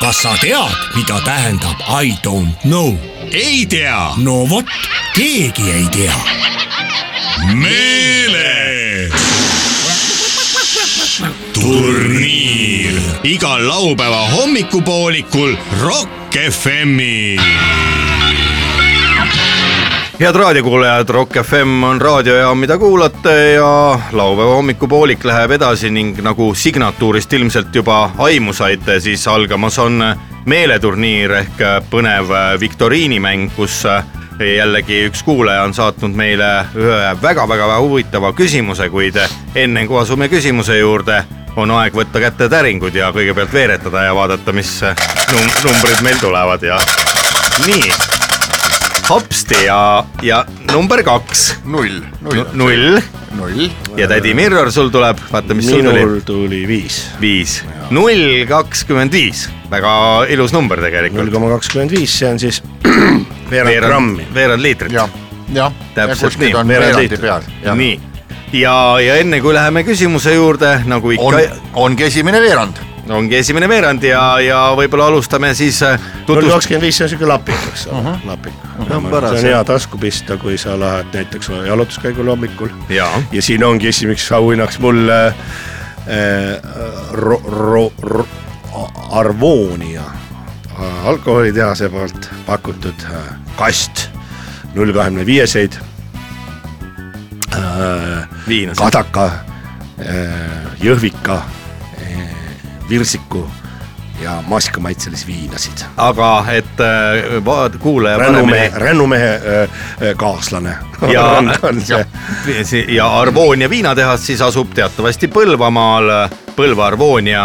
[SPEAKER 7] kas sa tead , mida tähendab I don't know ?
[SPEAKER 4] ei tea ,
[SPEAKER 7] no vot , keegi ei tea .
[SPEAKER 6] meele . turniir .
[SPEAKER 4] igal laupäeva hommikupoolikul Rock FM-i .
[SPEAKER 1] head raadiokuulajad , Rock FM on raadiojaam , mida kuulate ja laupäeva hommikupoolik läheb edasi ning nagu signatuurist ilmselt juba aimu saite , siis algamas on meeleturniir ehk põnev viktoriinimäng , kus jällegi üks kuulaja on saatnud meile ühe väga-väga huvitava küsimuse , kuid enne kui asume küsimuse juurde , on aeg võtta kätte täringud ja kõigepealt veeretada ja vaadata , mis num- , numbrid meil tulevad ja nii hopsti ja , ja number kaks ,
[SPEAKER 2] null , null ,
[SPEAKER 1] null
[SPEAKER 2] null ,
[SPEAKER 1] ja tädi Mirror , sul tuleb , vaata , mis sul tuli ,
[SPEAKER 3] minul tuli viis ,
[SPEAKER 1] viis , null kakskümmend viis , väga ilus number
[SPEAKER 3] null
[SPEAKER 1] tegelikult .
[SPEAKER 3] koma kakskümmend viis , see on siis *clears throat* veerand grammi .
[SPEAKER 1] veerand liitrit ,
[SPEAKER 2] jah , jah .
[SPEAKER 1] Täpselt nii,
[SPEAKER 2] on
[SPEAKER 3] veerand
[SPEAKER 2] veerandi
[SPEAKER 3] liitrit.
[SPEAKER 2] peal , jah .
[SPEAKER 1] nii ja , ja enne kui läheme küsimuse juurde , nagu
[SPEAKER 2] on
[SPEAKER 1] ikka ,,
[SPEAKER 2] ongi esimene veerand ,
[SPEAKER 1] ongi esimene veerand ja , ja võib-olla alustame siis äh,
[SPEAKER 3] null
[SPEAKER 1] tutvust-
[SPEAKER 3] kakskümmend viis , see on siuke lapik , eks ole , lapik . see on hea tasku pista , kui sa lähed näiteks jalutuskäigule hommikul
[SPEAKER 1] jaa ,
[SPEAKER 3] ja siin ongi esimeseks auhinnaks mul äh, äh, ro, ro, ro, Arvonia äh, alkoholitehase poolt pakutud äh, kast null kahekümne viieseid äh, .
[SPEAKER 1] viina .
[SPEAKER 3] kadaka äh, , jõhvika äh, , virsiku ja maasikamaitselisi viinasid .
[SPEAKER 1] aga et äh, vaad- , kuulaja .
[SPEAKER 3] rännumehe , rännumehe äh, äh, kaaslane . *laughs*
[SPEAKER 1] Ja-
[SPEAKER 3] on, on see
[SPEAKER 1] See- ja Arvoonia viinatehas siis asub teatavasti Põlvamaal , Põlva Arvoonia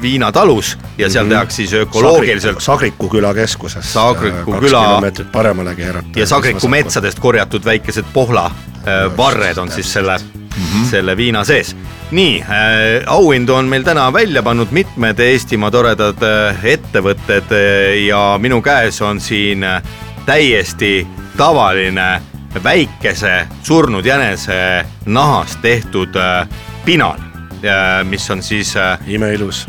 [SPEAKER 1] viinatalus ja seal mm -hmm. tehakse siis ökoloogiliselt
[SPEAKER 3] Sagriku küla keskuses .
[SPEAKER 1] Sagriku küla-
[SPEAKER 3] kilomeetrit paremale keerata .
[SPEAKER 1] ja Sagriku . metsadest korjatud väikesed pohla äh, varred on siis selle mm , -hmm. selle viina sees . nii äh, , auhindu on meil täna välja pannud mitmed Eestimaa toredad äh, ettevõtted äh, ja minu käes on siin äh, täiesti tavaline väikese surnud jänese nahast tehtud äh, pinal , mis on siis äh,
[SPEAKER 3] imeilus .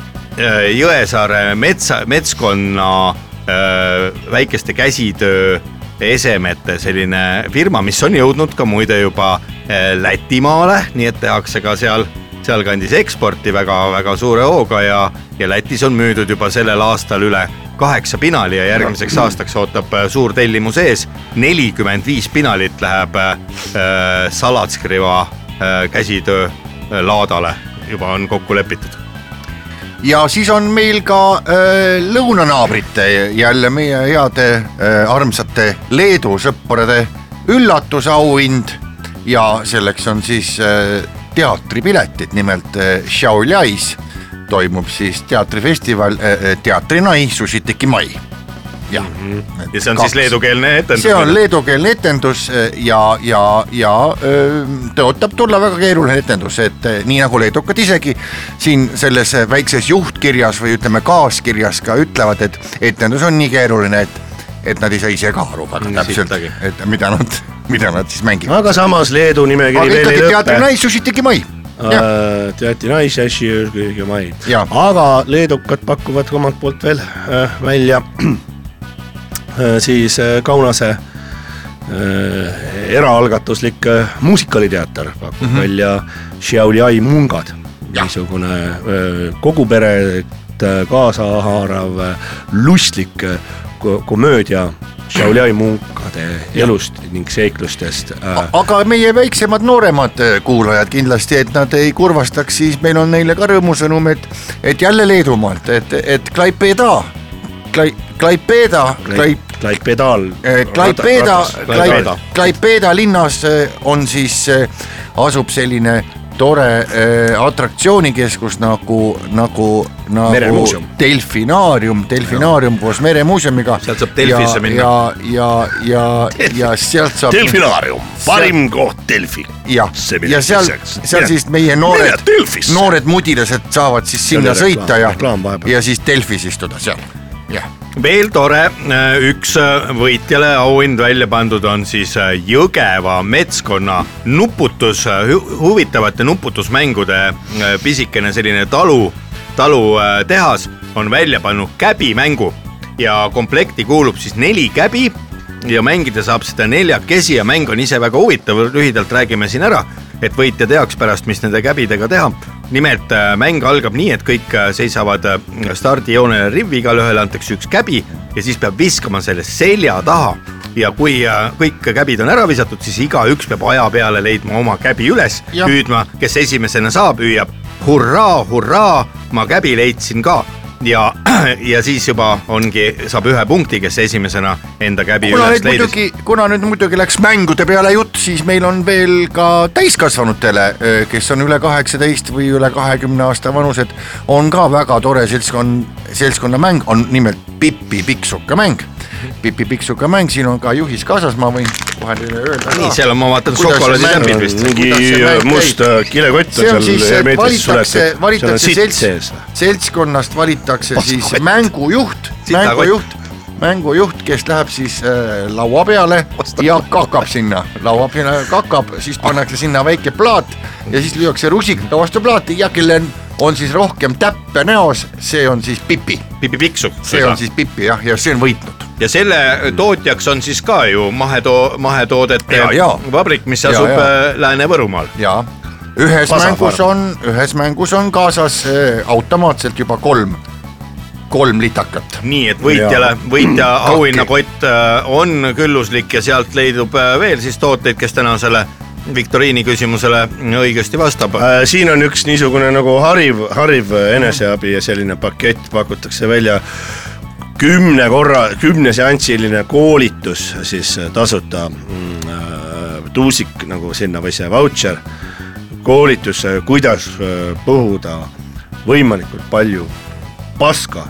[SPEAKER 1] Jõesaare metsa , metskonna öö, väikeste käsitöö esemete selline firma , mis on jõudnud ka muide juba öö, Lätimaale , nii et tehakse ka seal , sealkandis eksporti väga-väga suure hooga ja , ja Lätis on müüdud juba sellel aastal üle kaheksa pinali ja järgmiseks aastaks ootab öö, suur tellimus ees . nelikümmend viis pinalit läheb öö, Salatskriva öö, käsitöö öö, laadale , juba on kokku lepitud .
[SPEAKER 2] ja siis on meil ka äh, lõunanaabrite jälle meie heade äh, armsate Leedu sõprade üllatusauhind ja selleks on siis äh, teatripiletid , nimelt äh, Šiauliais toimub siis teatrifestival äh, äh, Teatrinai Sushiteki mai . jah mm . -hmm.
[SPEAKER 1] Mhm. ja see on Kaks. siis . leedukeelne etendus .
[SPEAKER 2] see on leedukeelne etendus äh, ja , ja , ja öö, tõotab tulla väga keeruline etendus , et äh, nii nagu leedukad isegi siin selles väikses juhtkirjas või ütleme , kaaskirjas ka ütlevad , et etendus on nii keeruline , et , et nad ei saa ise ka aru väga täpselt ,
[SPEAKER 1] sittagi.
[SPEAKER 2] et mida nad , mida nad siis mängivad .
[SPEAKER 3] aga samas Leedu nimekiri
[SPEAKER 2] aga
[SPEAKER 3] veel
[SPEAKER 2] ikkagi
[SPEAKER 3] ei lõpe .
[SPEAKER 2] teatrinais susitigi mai . jah ,
[SPEAKER 3] Äh, teati naisi asju kõige maid .
[SPEAKER 2] Jaa.
[SPEAKER 3] aga leedukad pakuvad omalt poolt veel äh, välja *clears throat* äh, siis äh, Kaunase äh, eraalgatuslik äh, muusikaliteater pakub mm -hmm. välja Šiauliai mungad , niisugune äh, kogu peret äh, kaasa haarav äh, lustlik äh, ko- komöödia Šiauliai munkade elust ning seiklustest äh, .
[SPEAKER 2] aga meie väiksemad nooremad äh, kuulajad kindlasti , et nad ei kurvastaks , siis meil on neile ka rõõmusõnum , et , et jälle Leedumaalt , et , et Klaipeda , Klaipeda ,
[SPEAKER 3] klaipedaal .
[SPEAKER 2] Äh, Klaipeda , Klaipeda linnas äh, on siis äh, asub selline tore äh, atraktsioonikeskus nagu , nagu , nagu
[SPEAKER 1] Meremuuseum.
[SPEAKER 2] delfinaarium , delfinaarium koos Meremuuseumiga .
[SPEAKER 1] Sealt saab Delfisse
[SPEAKER 2] ja,
[SPEAKER 1] minna.
[SPEAKER 2] ja , ja , ja , ja sealt saab .
[SPEAKER 3] delfinaarium , parim koht Delfi .
[SPEAKER 2] jah , ja seal , seal siis meie noored ,
[SPEAKER 3] Delfisse .
[SPEAKER 2] noored mudilased saavad siis
[SPEAKER 3] oli
[SPEAKER 2] sinna
[SPEAKER 3] reklaam-
[SPEAKER 2] sõita ja
[SPEAKER 3] reklaam vahepeal. ,
[SPEAKER 2] ja siis Delfis istuda seal , jah .
[SPEAKER 1] veel tore , üks äh, võitjale auhind välja pandud on siis äh, Jõgeva metskonna nuputus , huvitavate nuputusmängude äh, pisikene selline talu , talutehas on välja pannud käbimängu ja komplekti kuulub siis neli käbi ja mängida saab seda neljakesi ja mäng on ise väga huvitav , lühidalt räägime siin ära , et võitja teaks pärast , mis nende käbidega teha . nimelt äh, mäng algab nii , et kõik äh, seisavad äh, stardijoonele rivvi , igaühele antakse üks käbi ja siis peab viskama selle selja taha ja kui äh, kõik käbid on ära visatud , siis igaüks peab aja peale leidma oma käbi üles ,
[SPEAKER 2] Jah.
[SPEAKER 1] püüdma , kes esimesena saab , hüüab hurraa , hurraa , ma käbi leidsin ka ja , *clears throat* ja siis juba ongi , saab ühe punkti , kes esimesena enda käbi
[SPEAKER 2] kuna
[SPEAKER 1] üles
[SPEAKER 2] nüüd
[SPEAKER 1] leidis .
[SPEAKER 2] muidugi , kuna nüüd muidugi läks mängude peale jutt , siis meil on veel ka täiskasvanutele , kes on üle kaheksateist või üle kahekümne aasta vanused , on ka väga tore seltskond , seltskonnamäng on nimelt Pipi Piksuka mäng . Pipi Piksuka mäng , siin on ka juhis kaasas , ma võin kohe teile öelda
[SPEAKER 1] nii ,
[SPEAKER 2] ka .
[SPEAKER 1] seal on , ma vaatan ,
[SPEAKER 2] Kuidas
[SPEAKER 1] šokolaaditämbid
[SPEAKER 2] mäng-
[SPEAKER 1] vist .
[SPEAKER 3] mingi
[SPEAKER 2] Kuidas see mäng
[SPEAKER 3] must äh, kilekott
[SPEAKER 2] see
[SPEAKER 3] on
[SPEAKER 2] on siis ,
[SPEAKER 3] seal meetris
[SPEAKER 2] valitakse ,
[SPEAKER 3] suletud .
[SPEAKER 2] valitakse selts
[SPEAKER 3] sees .,
[SPEAKER 2] seltskonnast valitakse siis
[SPEAKER 1] Postkott.
[SPEAKER 2] mängujuht ,
[SPEAKER 1] Sitakott.
[SPEAKER 2] mängujuht , mängujuht , kes läheb siis äh, laua peale ja kakab sinna , laua peale kakab , siis pannakse sinna väike plaat ja siis lüüakse rusikaga vastu plaati ja kellel on siis rohkem täppe näos , see on siis Pipi ,
[SPEAKER 1] Pipi Piksu .
[SPEAKER 2] see on siis Pipi jah , ja see on võitnud .
[SPEAKER 1] ja selle äh, tootjaks on siis ka ju mahetoo- , mahetoodete
[SPEAKER 2] Jaa, jaa.
[SPEAKER 1] vabrik , mis
[SPEAKER 2] Jaa,
[SPEAKER 1] asub
[SPEAKER 2] jaa.
[SPEAKER 1] äh, Lääne-Võrumaal .
[SPEAKER 2] ja ühes
[SPEAKER 3] Vasafarm.
[SPEAKER 2] mängus on , ühes mängus on kaasas äh, automaatselt juba kolm , kolm litakat
[SPEAKER 1] nii et võitjale , võitja auhinnakott äh, on külluslik ja sealt leidub äh, veel siis tooteid , kes tänasele viktoriini küsimusele õigesti vastab .
[SPEAKER 2] Äh,
[SPEAKER 3] siin on üks niisugune nagu hariv , hariv eneseabi ja selline pakett pakutakse välja kümne korra , kümneseanssiline koolitus siis äh, tasuta mm, äh, tuusik nagu sinna või see vautšer , koolitus , kuidas äh, puhuda võimalikult palju paska ,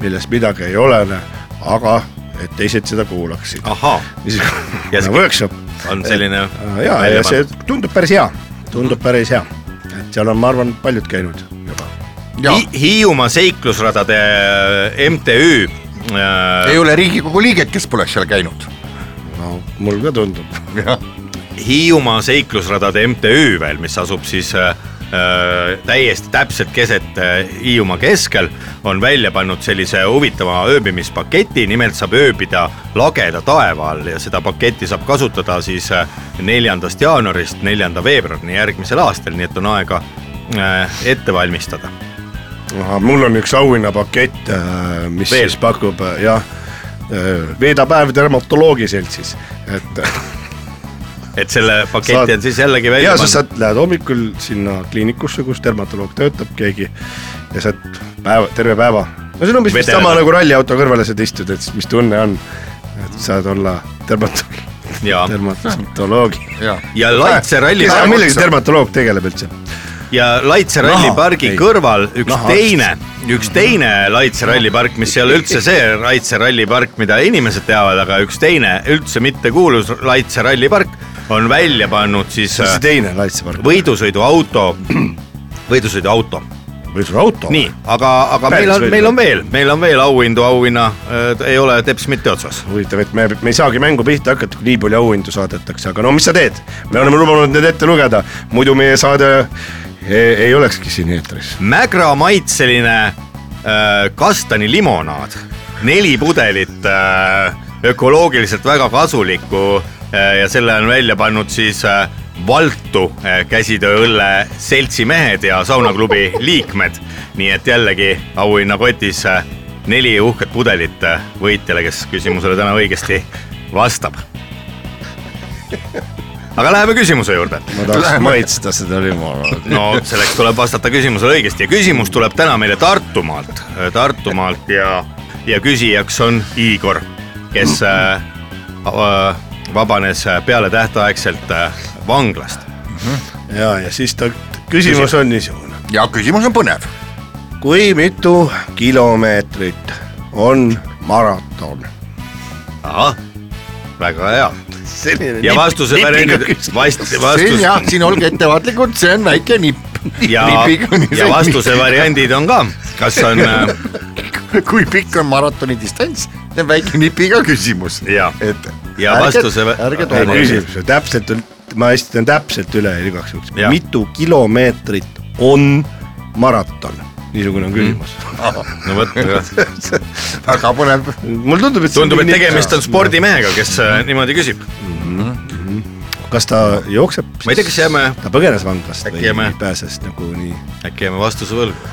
[SPEAKER 3] millest midagi ei olene , aga et teised seda kuulaksid .
[SPEAKER 1] ahhaa ,
[SPEAKER 3] *laughs*
[SPEAKER 1] Ja see-
[SPEAKER 3] niisugune workshop
[SPEAKER 1] on selline .
[SPEAKER 3] ja , ja see tundub päris hea , tundub päris hea , et seal on , ma arvan , paljud käinud juba .
[SPEAKER 2] ja
[SPEAKER 1] Hi- Hiiumaa seiklusradade äh, MTÜ äh,
[SPEAKER 2] ei ole Riigikogu liiget , kes poleks seal käinud .
[SPEAKER 3] no mul ka tundub .
[SPEAKER 1] Hiiumaa seiklusradade MTÜ veel , mis asub siis äh, äh, täiesti täpselt keset äh, Hiiumaa keskel , on välja pannud sellise huvitava ööbimispaketi , nimelt saab ööbida lageda taeva all ja seda paketti saab kasutada siis äh, neljandast jaanuarist neljanda veebruarini järgmisel aastal , nii et on aega äh, ette valmistada .
[SPEAKER 3] mul on üks auhinnapakett , mis
[SPEAKER 1] Veel?
[SPEAKER 3] Veel. siis pakub äh, jah , veeda päev dermatoloogi seltsis , et äh,
[SPEAKER 1] et selle paketi
[SPEAKER 3] Saad-
[SPEAKER 1] on siis jällegi välja
[SPEAKER 3] ja sa
[SPEAKER 1] pandud .
[SPEAKER 3] saad , lähed hommikul sinna kliinikusse , kus dermatoloog töötab , keegi ja saad päeva , terve päeva . no see on umbes vist
[SPEAKER 1] Vedeleda.
[SPEAKER 3] sama nagu ralliauto kõrvale saad istuda , et siis mis tunne on , et saad olla dermatoloog ,
[SPEAKER 1] ja ,
[SPEAKER 3] dermatoloogi .
[SPEAKER 1] ja Ah. Laitse ralli
[SPEAKER 3] aga millega dermatoloog tegeleb üldse ?
[SPEAKER 1] ja Laitse rallipargi
[SPEAKER 3] ei.
[SPEAKER 1] kõrval üks
[SPEAKER 3] Naha- Mhm.
[SPEAKER 1] teine , üks teine Laitse rallipark , mis ei ole
[SPEAKER 3] *laughs*
[SPEAKER 1] üldse see Laitse rallipark , mida inimesed teavad , aga üks teine üldse mitte kuulus Laitse rallipark on välja pannud siis
[SPEAKER 3] see on see
[SPEAKER 1] äh,
[SPEAKER 3] teine laitsepark
[SPEAKER 1] võidusõiduauto ,
[SPEAKER 3] *clears throat*
[SPEAKER 1] võidusõiduauto .
[SPEAKER 3] või sul auto .
[SPEAKER 1] nii , aga , aga
[SPEAKER 3] Päris
[SPEAKER 1] meil on ,
[SPEAKER 3] võidu-
[SPEAKER 1] meil on veel , meil on veel auhindu , auhinna äh, ei ole teps mitte otsas .
[SPEAKER 3] huvitav , et me , me ei saagi mängu pihta hakata , kui nii palju auhindu saadetakse , aga no mis sa teed , me oleme lubanud need ette lugeda , muidu meie saade e, ei, ei olekski siin eetris .
[SPEAKER 1] mägramaitseline äh, kastanilimonaad , neli pudelit äh, , ökoloogiliselt väga kasulikku äh, ja selle on välja pannud siis äh, Valtu äh, käsitööõlle seltsimehed ja saunaklubi liikmed . nii et jällegi auhinnakotis äh, neli uhket pudelit äh, võitjale , kes küsimusele täna õigesti vastab . aga läheme küsimuse juurde
[SPEAKER 3] ma tahaks maitsta seda limonaadi .
[SPEAKER 1] no selleks tuleb vastata küsimusele õigesti ja küsimus tuleb täna meile Tartumaalt , Tartumaalt ja , ja küsijaks on Igor , kes äh, äh, vabanes peale tähtaegselt äh, vanglast .
[SPEAKER 3] ja , ja siis ta , küsimus on niisugune .
[SPEAKER 2] ja küsimus on põnev .
[SPEAKER 3] kui mitu kilomeetrit on maraton ?
[SPEAKER 1] ahah , väga hea .
[SPEAKER 3] selline
[SPEAKER 1] ja vastuse variandid , vast- ,
[SPEAKER 2] siin
[SPEAKER 1] vastus
[SPEAKER 2] jah , siin olge ettevaatlikud , see on väike nipp .
[SPEAKER 1] ja , ja vastuse . variandid on ka , kas on äh,
[SPEAKER 2] kui pikk on maratoni distants , see on väike nipiga küsimus .
[SPEAKER 1] Jaa.
[SPEAKER 2] et
[SPEAKER 1] Ja vastuse vä-
[SPEAKER 2] ärge
[SPEAKER 1] Ei,
[SPEAKER 2] toome .
[SPEAKER 3] küsimus , täpselt on , ma esitan täpselt üle igaks juhuks
[SPEAKER 1] Jah. ,
[SPEAKER 3] mitu kilomeetrit on maraton ? niisugune on küsimus mm. .
[SPEAKER 1] no vot ,
[SPEAKER 2] väga põnev .
[SPEAKER 3] mulle tundub , et see on
[SPEAKER 1] tundub , et
[SPEAKER 3] nii-
[SPEAKER 1] tegemist on spordimehega , kes äh, niimoodi küsib .
[SPEAKER 3] kas ta jookseb ?
[SPEAKER 1] ma ei tea , kas jääme ,
[SPEAKER 3] ta põgenes vanglast
[SPEAKER 1] Äkki
[SPEAKER 3] või
[SPEAKER 1] jääme-
[SPEAKER 3] pääses nagu nii .
[SPEAKER 1] äkki jääme vastuse võlgu .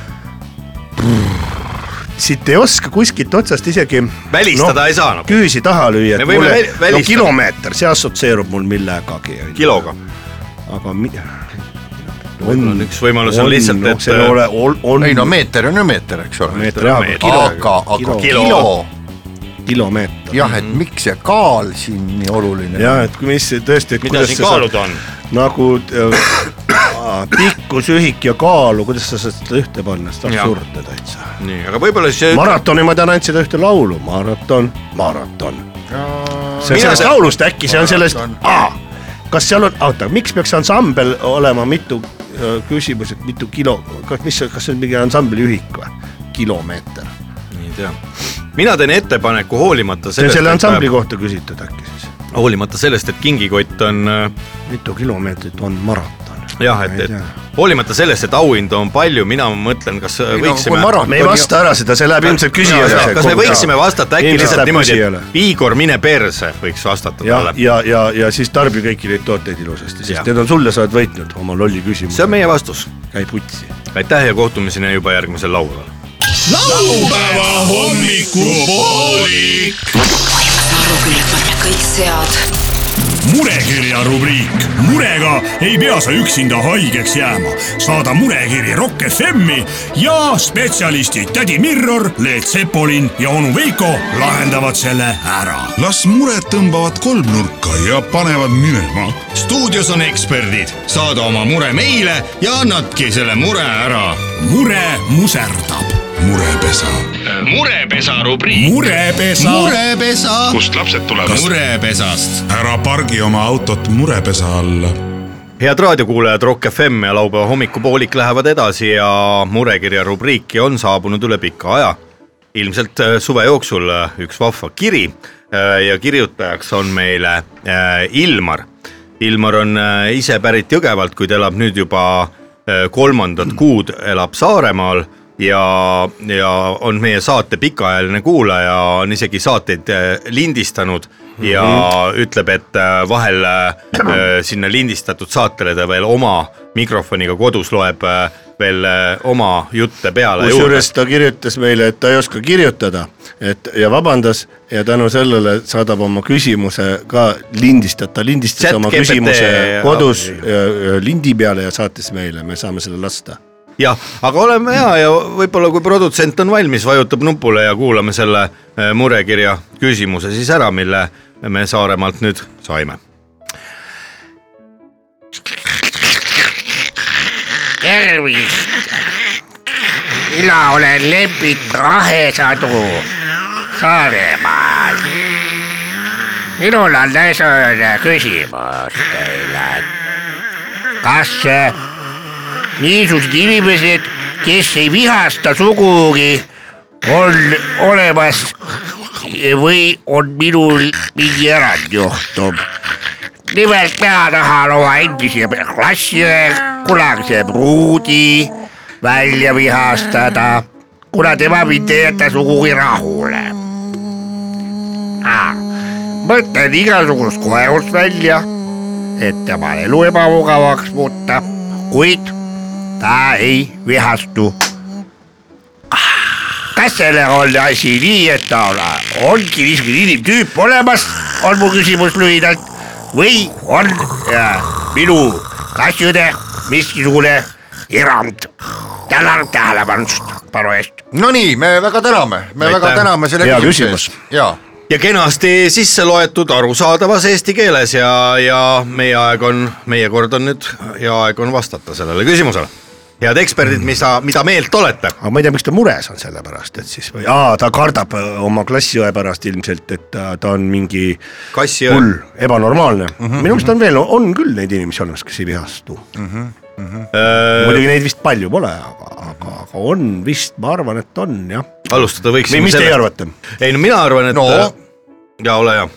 [SPEAKER 3] siit ei oska kuskilt otsast isegi .
[SPEAKER 1] välistada no. ei saa nagu ,
[SPEAKER 3] küüsi taha lüüa ,
[SPEAKER 1] Me
[SPEAKER 3] et
[SPEAKER 1] võime
[SPEAKER 3] mulle
[SPEAKER 1] väl- ,
[SPEAKER 3] no
[SPEAKER 1] välistada.
[SPEAKER 3] kilomeeter , see assotsieerub mul millegagi .
[SPEAKER 1] kiloga .
[SPEAKER 3] aga mi- .
[SPEAKER 1] on üks võimalus on lihtsalt , et äh,
[SPEAKER 3] see ole , on .
[SPEAKER 2] ei no meeter on ju meeter , eks ole .
[SPEAKER 3] meetri
[SPEAKER 1] meetri-
[SPEAKER 3] jagu ,
[SPEAKER 2] aga , aga
[SPEAKER 3] Kilo.
[SPEAKER 2] kilo ,
[SPEAKER 3] kilomeeter .
[SPEAKER 2] jah , et miks see kaal siin nii oluline
[SPEAKER 3] ja et kui mis see tõesti , et
[SPEAKER 1] mida
[SPEAKER 3] kuidas
[SPEAKER 1] siin
[SPEAKER 3] sa saad
[SPEAKER 1] kaaluda on ?
[SPEAKER 3] nagu äh, *coughs* pikkusühik ja kaalu , kuidas sa saad seda ühte panna , see on
[SPEAKER 1] Jah.
[SPEAKER 3] absurdne täitsa .
[SPEAKER 1] nii , aga võib-olla
[SPEAKER 3] *laughs*
[SPEAKER 1] siis
[SPEAKER 3] maratoni ma tean ainult seda ühte laulu , maraton , maraton . see on
[SPEAKER 1] Mina
[SPEAKER 3] sellest
[SPEAKER 1] tean-
[SPEAKER 3] laulust äkki , see on sellest , kas seal on , oota , miks peaks ansambel olema mitu äh, küsimus , et mitu kilo , kas , mis , kas see on mingi ansambli ühik või ? kilomeeter ,
[SPEAKER 1] ei tea . mina teen ettepaneku hoolimata
[SPEAKER 3] see on
[SPEAKER 1] sellest ,
[SPEAKER 3] selle ansambli kohta küsitud äkki siis ,
[SPEAKER 1] hoolimata sellest , et kingikott on äh,
[SPEAKER 3] mitu kilomeetrit on maraton ?
[SPEAKER 1] jah , et , et hoolimata sellest , et auhindu on palju , mina mõtlen , kas äh,
[SPEAKER 2] Ei no, kui
[SPEAKER 3] Nagu,
[SPEAKER 1] võiksime
[SPEAKER 2] maraton-
[SPEAKER 3] me ei vasta ära seda , see läheb ilmselt küsijale .
[SPEAKER 1] kas me võiksime vastata äkki lihtsalt niimoodi , et Igor , mine perse , võiks vastata
[SPEAKER 3] ja ,
[SPEAKER 1] talle .
[SPEAKER 3] ja , ja , ja siis tarbi kõiki neid tooteid ilusasti ,
[SPEAKER 1] Jah.
[SPEAKER 3] sest need on sulle , sa oled võitnud oma lolli küsimuse
[SPEAKER 1] see , on meie vastus .
[SPEAKER 3] käib utsi .
[SPEAKER 1] aitäh ja kohtumiseni juba järgmisel laupäeval .
[SPEAKER 6] laupäeva hommikupoolik .
[SPEAKER 8] kõik sead
[SPEAKER 7] murekirja rubriik . murega ei pea sa üksinda haigeks jääma . saada murekiri Rock FM-i ja spetsialistid tädi Mirror , Leet Sepolin ja onu Veiko lahendavad selle ära
[SPEAKER 6] las mured tõmbavad kolmnurka ja panevad minema
[SPEAKER 4] stuudios on eksperdid , saada oma mure meile ja annadki selle mure ära .
[SPEAKER 7] mure muserdab .
[SPEAKER 6] murepesa .
[SPEAKER 4] murepesa rubriik .
[SPEAKER 7] murepesa mure. .
[SPEAKER 4] murepesa ,
[SPEAKER 6] kust lapsed tulevad ?
[SPEAKER 4] murepesast .
[SPEAKER 6] ära pargi oma autot murepesa alla .
[SPEAKER 1] head raadiokuulajad , Rock FM ja laupäeva hommikupoolik lähevad edasi ja murekirja rubriiki on saabunud üle pika aja . ilmselt äh, suve jooksul äh, üks vahva kiri äh, ja kirjutajaks on meile äh, Ilmar . Ilmar on äh, ise pärit Jõgevalt , kuid elab nüüd juba äh, kolmandat kuud , elab Saaremaal ja , ja on meie saate pikaajaline kuulaja , on isegi saateid äh, lindistanud ja ütleb , et äh, vahel äh, sinna lindistatud saatele ta veel oma mikrofoniga kodus loeb äh, veel äh, oma jutte peale juurde .
[SPEAKER 3] kusjuures ta kirjutas meile , et ta ei oska kirjutada , et ja vabandas ja tänu sellele saadab oma küsimuse ka lindistada , ta lindistas
[SPEAKER 1] Chat
[SPEAKER 3] oma
[SPEAKER 1] GPT
[SPEAKER 3] küsimuse
[SPEAKER 1] ja-
[SPEAKER 3] kodus äh, lindi peale ja saatis meile , me saame selle lasta .
[SPEAKER 1] jah , aga oleme hea ja võib-olla kui produtsent on valmis , vajutab nupule ja kuulame selle äh, murekirja küsimuse siis ära , mille me Saaremaalt nüüd saime .
[SPEAKER 5] tervist . mina olen Lembit Rahesadu Saaremaalt . minul on niisugune küsimus teile . kas eh, niisugused inimesed , kes ei vihasta sugugi , on olemas või on minul mingi erandjuhtum ? nimelt mina tahan oma endise klassiõe , kunagise pruudi välja vihastada , kuna tema mind ei jäta sugugi rahule . mõtlen igasugust koerust välja , et tema elu ebamugavaks muuta , kuid ta ei vihastu . kas sellega on asi nii , et ta on , ongi niisugune inimtüüp olemas , on mu küsimus lühidalt või on äh, minu asjade miskisugune erand . tänan tähelepanust , paru eest .
[SPEAKER 2] Nonii , me väga täname , me
[SPEAKER 1] Aitäh.
[SPEAKER 2] väga täname selle
[SPEAKER 3] Hea
[SPEAKER 2] küsimuse eest ja
[SPEAKER 1] ja kenasti sisse loetud arusaadavas eesti keeles ja , ja meie aeg on , meie kord on nüüd ja aeg on vastata sellele küsimusele . head eksperdid ,
[SPEAKER 3] Mm.
[SPEAKER 1] mis sa , mida meelt olete ?
[SPEAKER 3] aga ma ei tea , miks ta mures on selle pärast , et siis või aa , ta kardab öö, oma klassiõe pärast ilmselt , et ta, ta on mingi
[SPEAKER 1] kassiõe
[SPEAKER 3] hull , ebanormaalne mm . -hmm. minu meelest on veel , on küll neid inimesi olemas , kes ei vihastu mm . -hmm. muidugi neid vist palju pole , aga , aga , aga on vist , ma arvan , et on jah .
[SPEAKER 1] alustada võiks .
[SPEAKER 3] või mis teie ? arvate ?
[SPEAKER 1] ei no mina arvan , et äh,
[SPEAKER 2] No.
[SPEAKER 1] ja ole hea .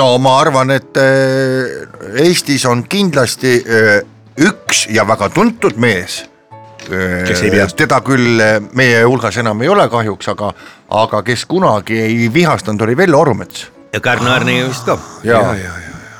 [SPEAKER 2] no ma arvan , et äh, Eestis on kindlasti äh, üks ja väga tuntud mees .
[SPEAKER 3] Kes ei vihastu.
[SPEAKER 2] teda küll äh, meie hulgas enam ei ole kahjuks , aga , aga kes kunagi ei vihastanud , oli Vello Orumets .
[SPEAKER 1] ja Kärn Äärni vist ka .
[SPEAKER 2] jaa ,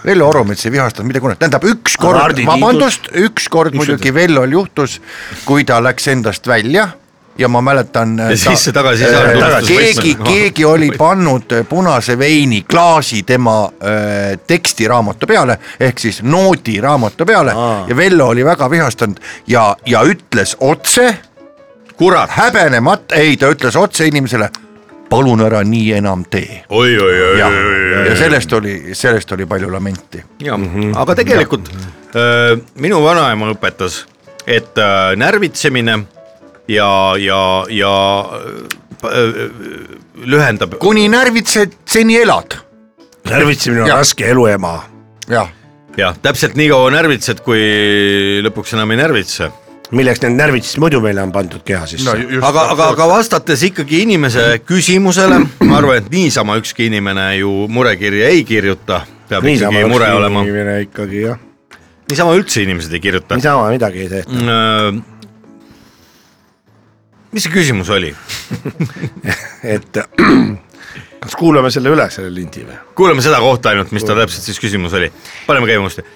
[SPEAKER 2] Vello Orumets ei vihastanud mitte kunagi , tähendab ükskord
[SPEAKER 3] Hardi , Tiidus-
[SPEAKER 2] vabandust , ükskord muidugi Vellol juhtus , kui ta läks endast välja ja ma mäletan .
[SPEAKER 1] Ja sisse tagasi ei saanud, unustas
[SPEAKER 2] keegi ,
[SPEAKER 1] võtmed.
[SPEAKER 2] keegi oli pannud äh, punase veini klaasi tema öö, tekstiraamatu peale ehk siis noodiraamatu peale Aa. ja Vello oli väga vihastanud ja , ja ütles otse
[SPEAKER 1] kurat ,
[SPEAKER 2] häbenemata , ei , ta ütles otse inimesele , palun ära nii enam tee .
[SPEAKER 1] oi-oi-oi .
[SPEAKER 2] ja , ja sellest oli , sellest oli palju lamenti .
[SPEAKER 1] ja mm ,
[SPEAKER 3] Mm-hmm.
[SPEAKER 1] -hmm. aga tegelikult öö, minu vanaema õpetas , et öö, närvitsemine ja , ja , ja öö, p- öö, lühendab .
[SPEAKER 2] kuni närvitsed , seni elad .
[SPEAKER 3] närvitsemine on
[SPEAKER 2] Jah.
[SPEAKER 3] raske eluema .
[SPEAKER 2] jah ,
[SPEAKER 1] jah , täpselt nii kaua närvitsed , kui lõpuks enam ei närvitse .
[SPEAKER 3] milleks need närvid siis muidu meile on pandud keha sisse no, ?
[SPEAKER 1] aga , aga , aga vastates ikkagi inimese küsimusele , ma arvan , et niisama ükski inimene ju murekirja ei kirjuta , peab niisama ikkagi mure olema ,
[SPEAKER 3] inimene ikkagi jah ,
[SPEAKER 1] niisama üldse inimesed ei kirjuta .
[SPEAKER 3] niisama midagi ei tehta .
[SPEAKER 1] mis see küsimus oli ?
[SPEAKER 3] et *clears throat* kas kuulame selle üle , selle lindi või ?
[SPEAKER 1] kuulame seda kohta ainult , mis ta täpselt siis küsimus oli , paneme käima uuesti .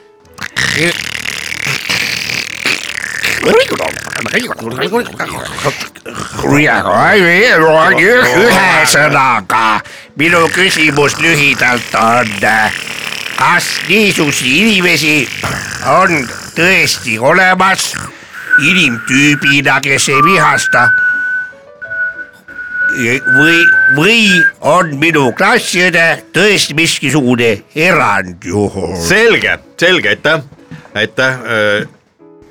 [SPEAKER 5] ühesõnaga , minu küsimus lühidalt on , kas niisuguseid inimesi on tõesti olemas inimtüübina , kes ei vihasta ? või , või on minu klassiõde tõesti miskisugune erandjuhul ?
[SPEAKER 1] selge , selge , aitäh , aitäh .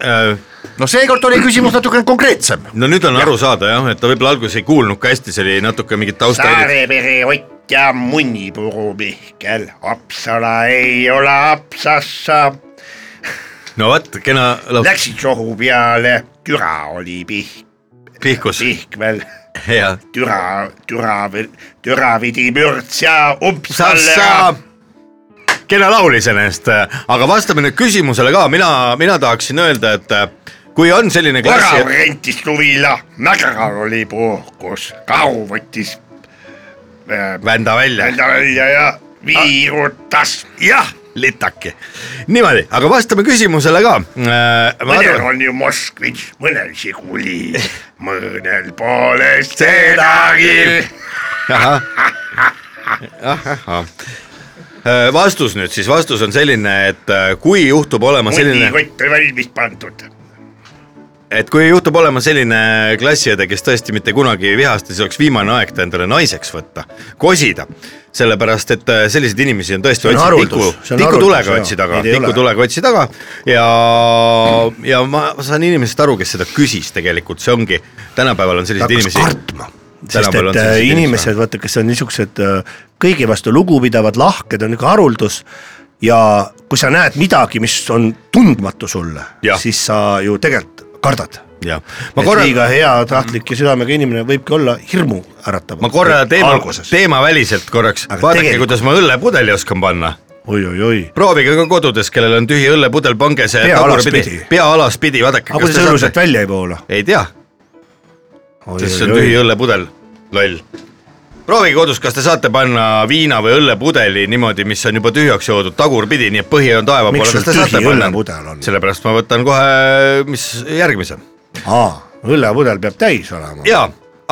[SPEAKER 1] äh,
[SPEAKER 2] no seekord oli küsimus natukene konkreetsem .
[SPEAKER 1] no nüüd on aru saada jah , et ta võib-olla alguses ei kuulnud ka hästi , see oli natuke mingit tausta .
[SPEAKER 5] Saarepere Ott ja munnipuru Mihkel , Haapsala ei ole Haapsassa ,
[SPEAKER 1] no vot , kena laul ,
[SPEAKER 5] läksid sohu peale , türa oli Pih- ,
[SPEAKER 1] pihkus ,
[SPEAKER 5] Pihkvel ,
[SPEAKER 1] hea .
[SPEAKER 5] türa , türa , türa vidi mürts ja umps
[SPEAKER 1] Sassa
[SPEAKER 5] talle ..
[SPEAKER 1] kena laul iseenesest , aga vastame nüüd küsimusele ka , mina , mina tahaksin öelda , et äh, kui on selline
[SPEAKER 5] orav
[SPEAKER 1] klassi ,
[SPEAKER 5] rentis tuvila , mägral oli puhkus , karu võttis äh,
[SPEAKER 1] vända välja
[SPEAKER 5] enda välja ja viirutas .
[SPEAKER 1] jah , litaki . niimoodi , aga vastame küsimusele ka . Äh,
[SPEAKER 5] mõnel on ju Moskvitš , mõnel
[SPEAKER 1] *laughs*
[SPEAKER 5] Žiguli , mõnel pole sedagi .
[SPEAKER 1] ahah , ahah . Äh, vastus nüüd siis , vastus on selline , et äh, kui juhtub olema selline ,
[SPEAKER 5] mutikott on valmis pandud .
[SPEAKER 1] et kui juhtub olema selline klassiõde , kes tõesti mitte kunagi ei vihasta , siis oleks viimane aeg ta endale naiseks võtta , kosida . sellepärast , et äh, selliseid inimesi on tõesti
[SPEAKER 3] See on
[SPEAKER 1] otsida
[SPEAKER 3] haruldus,
[SPEAKER 1] tiku
[SPEAKER 3] see , on
[SPEAKER 1] tikutulega
[SPEAKER 3] haruldus,
[SPEAKER 1] otsi
[SPEAKER 3] jaa.
[SPEAKER 1] taga ,
[SPEAKER 3] Neid ei ole.
[SPEAKER 1] tikutulega otsi taga ja , ja ma saan inimesest aru , kes seda küsis tegelikult , see ongi , tänapäeval on selliseid
[SPEAKER 3] hakkas
[SPEAKER 1] inimesi .
[SPEAKER 3] kartma . sest
[SPEAKER 1] Tänapäeval
[SPEAKER 3] et
[SPEAKER 1] on
[SPEAKER 3] äh,
[SPEAKER 1] selliseid inimesi
[SPEAKER 3] inimesed , vaata , kes on niisugused äh, kõigi vastu lugupidavad , lahked , on niisugune haruldus ja kui sa näed midagi , mis on tundmatu sulle
[SPEAKER 1] Jah. ,
[SPEAKER 3] siis sa ju tegelikult kardad .
[SPEAKER 1] jah ,
[SPEAKER 3] et
[SPEAKER 1] ma korra ,
[SPEAKER 3] liiga heatahtlik ja südamega inimene võibki olla hirmu äratav .
[SPEAKER 1] ma korra teema ,
[SPEAKER 3] alguses .
[SPEAKER 1] teemaväliselt korraks ,
[SPEAKER 3] Aga
[SPEAKER 1] vaadake
[SPEAKER 3] tegelikult- ,
[SPEAKER 1] kuidas ma õllepudeli oskan panna .
[SPEAKER 3] oi-oi-oi ,
[SPEAKER 1] proovige ka kodudes , kellel on tühi õllepudel , pange see
[SPEAKER 3] Pea
[SPEAKER 1] tagurpidi
[SPEAKER 3] alaspidi. ,
[SPEAKER 1] pea alaspidi , vaadake .
[SPEAKER 3] aga kuidas õlused ? välja ei voola ?
[SPEAKER 1] ei tea , sest see on tühi õllepudel , loll . proovige kodus , kas te saate panna viina või õllepudeli niimoodi , mis on juba tühjaks joodud tagurpidi , nii et põhi on taeva
[SPEAKER 3] Miks
[SPEAKER 1] poole ,
[SPEAKER 3] sul
[SPEAKER 1] kas te
[SPEAKER 3] tühi
[SPEAKER 1] saate
[SPEAKER 3] õllepudel
[SPEAKER 1] panna
[SPEAKER 3] on? ?
[SPEAKER 1] sellepärast ma võtan kohe , mis järgmise
[SPEAKER 3] aa , õllepudel peab täis olema .
[SPEAKER 1] ja ,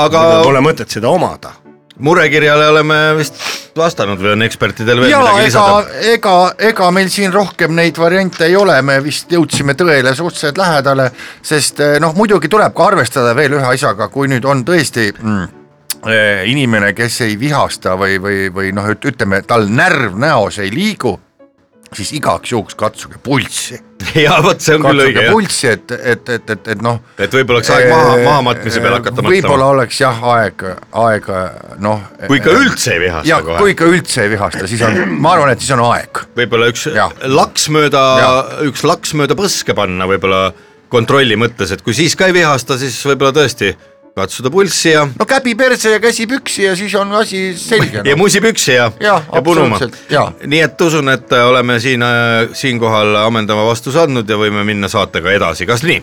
[SPEAKER 1] aga
[SPEAKER 3] Pole mõtet seda omada .
[SPEAKER 1] murekirjale oleme vist vastanud või on ekspertidel veel
[SPEAKER 2] ja
[SPEAKER 1] midagi
[SPEAKER 2] ega
[SPEAKER 1] lisada ?, *laughs*
[SPEAKER 2] ega , ega meil siin rohkem neid variante ei ole , me vist jõudsime tõele suhteliselt lähedale , sest eh, noh , muidugi tuleb ka arvestada veel ühe asjaga , kui nüüd on tõesti mm, eh, inimene , kes ei vihasta või , või , või noh , ütleme , tal närv näos ei liigu , siis igaks juhuks katsuge pulssi .
[SPEAKER 1] ja vot see on küll õige
[SPEAKER 2] katsuge
[SPEAKER 1] jah ,
[SPEAKER 2] pulssi , et , et , et , et , et noh .
[SPEAKER 1] et võib-olla oleks aeg maha , maha matmise peale hakata
[SPEAKER 2] võib-olla
[SPEAKER 1] mõtlema .
[SPEAKER 2] oleks jah aeg , aeg noh .
[SPEAKER 1] kui ikka üldse ei vihasta
[SPEAKER 2] ja
[SPEAKER 1] kohe
[SPEAKER 2] kui . ikka üldse ei vihasta , siis
[SPEAKER 3] *clears throat*
[SPEAKER 2] on , ma arvan , et siis on aeg .
[SPEAKER 1] võib-olla üks
[SPEAKER 2] Jah.
[SPEAKER 1] laks mööda
[SPEAKER 2] Jah. ,
[SPEAKER 1] üks laks mööda põske panna võib-olla kontrolli mõttes , et kui siis ka ei vihasta , siis võib-olla tõesti katsuda pulssi ja ,
[SPEAKER 2] no käpi perse ja käsi püksi ja siis on asi selge noh.
[SPEAKER 1] ja
[SPEAKER 2] no. .
[SPEAKER 1] musipüksi ja ,
[SPEAKER 2] Jah,
[SPEAKER 1] ja punuma
[SPEAKER 2] absoluutselt, jah. .
[SPEAKER 1] nii et usun , et äh, oleme siin , siinkohal ammendava vastuse andnud ja võime minna saatega edasi , kas nii ?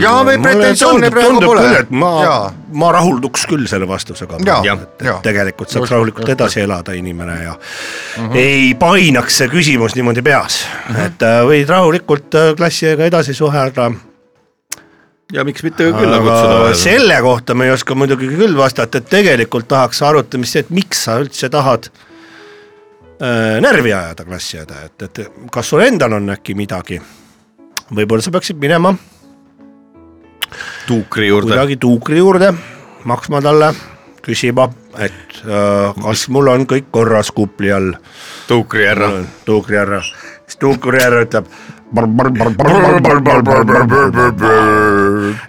[SPEAKER 2] ja meil pretensioone praegu
[SPEAKER 3] tundub
[SPEAKER 2] pole
[SPEAKER 3] küll , et . ma
[SPEAKER 2] ja ,
[SPEAKER 3] ma rahulduks küll selle vastusega .
[SPEAKER 2] ja , ja,
[SPEAKER 1] Jah,
[SPEAKER 2] ja.
[SPEAKER 3] tegelikult saaks
[SPEAKER 2] Just,
[SPEAKER 3] rahulikult
[SPEAKER 2] just, Mhm.
[SPEAKER 3] edasi elada inimene ja mm -hmm. ei painaks see küsimus niimoodi peas mm , -hmm. et äh, võid rahulikult äh, klassiga edasi suhelda .
[SPEAKER 1] ja miks mitte ka külla kutsuda
[SPEAKER 3] aga
[SPEAKER 1] vahel .
[SPEAKER 3] selle kohta ma ei oska muidugi küll vastata , et tegelikult tahaks arutamist , et miks sa üldse tahad äh, närvi ajada klassiõde , et , et kas sul endal on äkki midagi , võib-olla sa peaksid minema
[SPEAKER 1] tuukri juurde .
[SPEAKER 3] kuidagi tuukri juurde , maksma talle , küsima , et äh, kas mul on kõik korras kupli all .
[SPEAKER 1] tuukri härra .
[SPEAKER 3] tuukri härra , siis tuukri härra ütleb .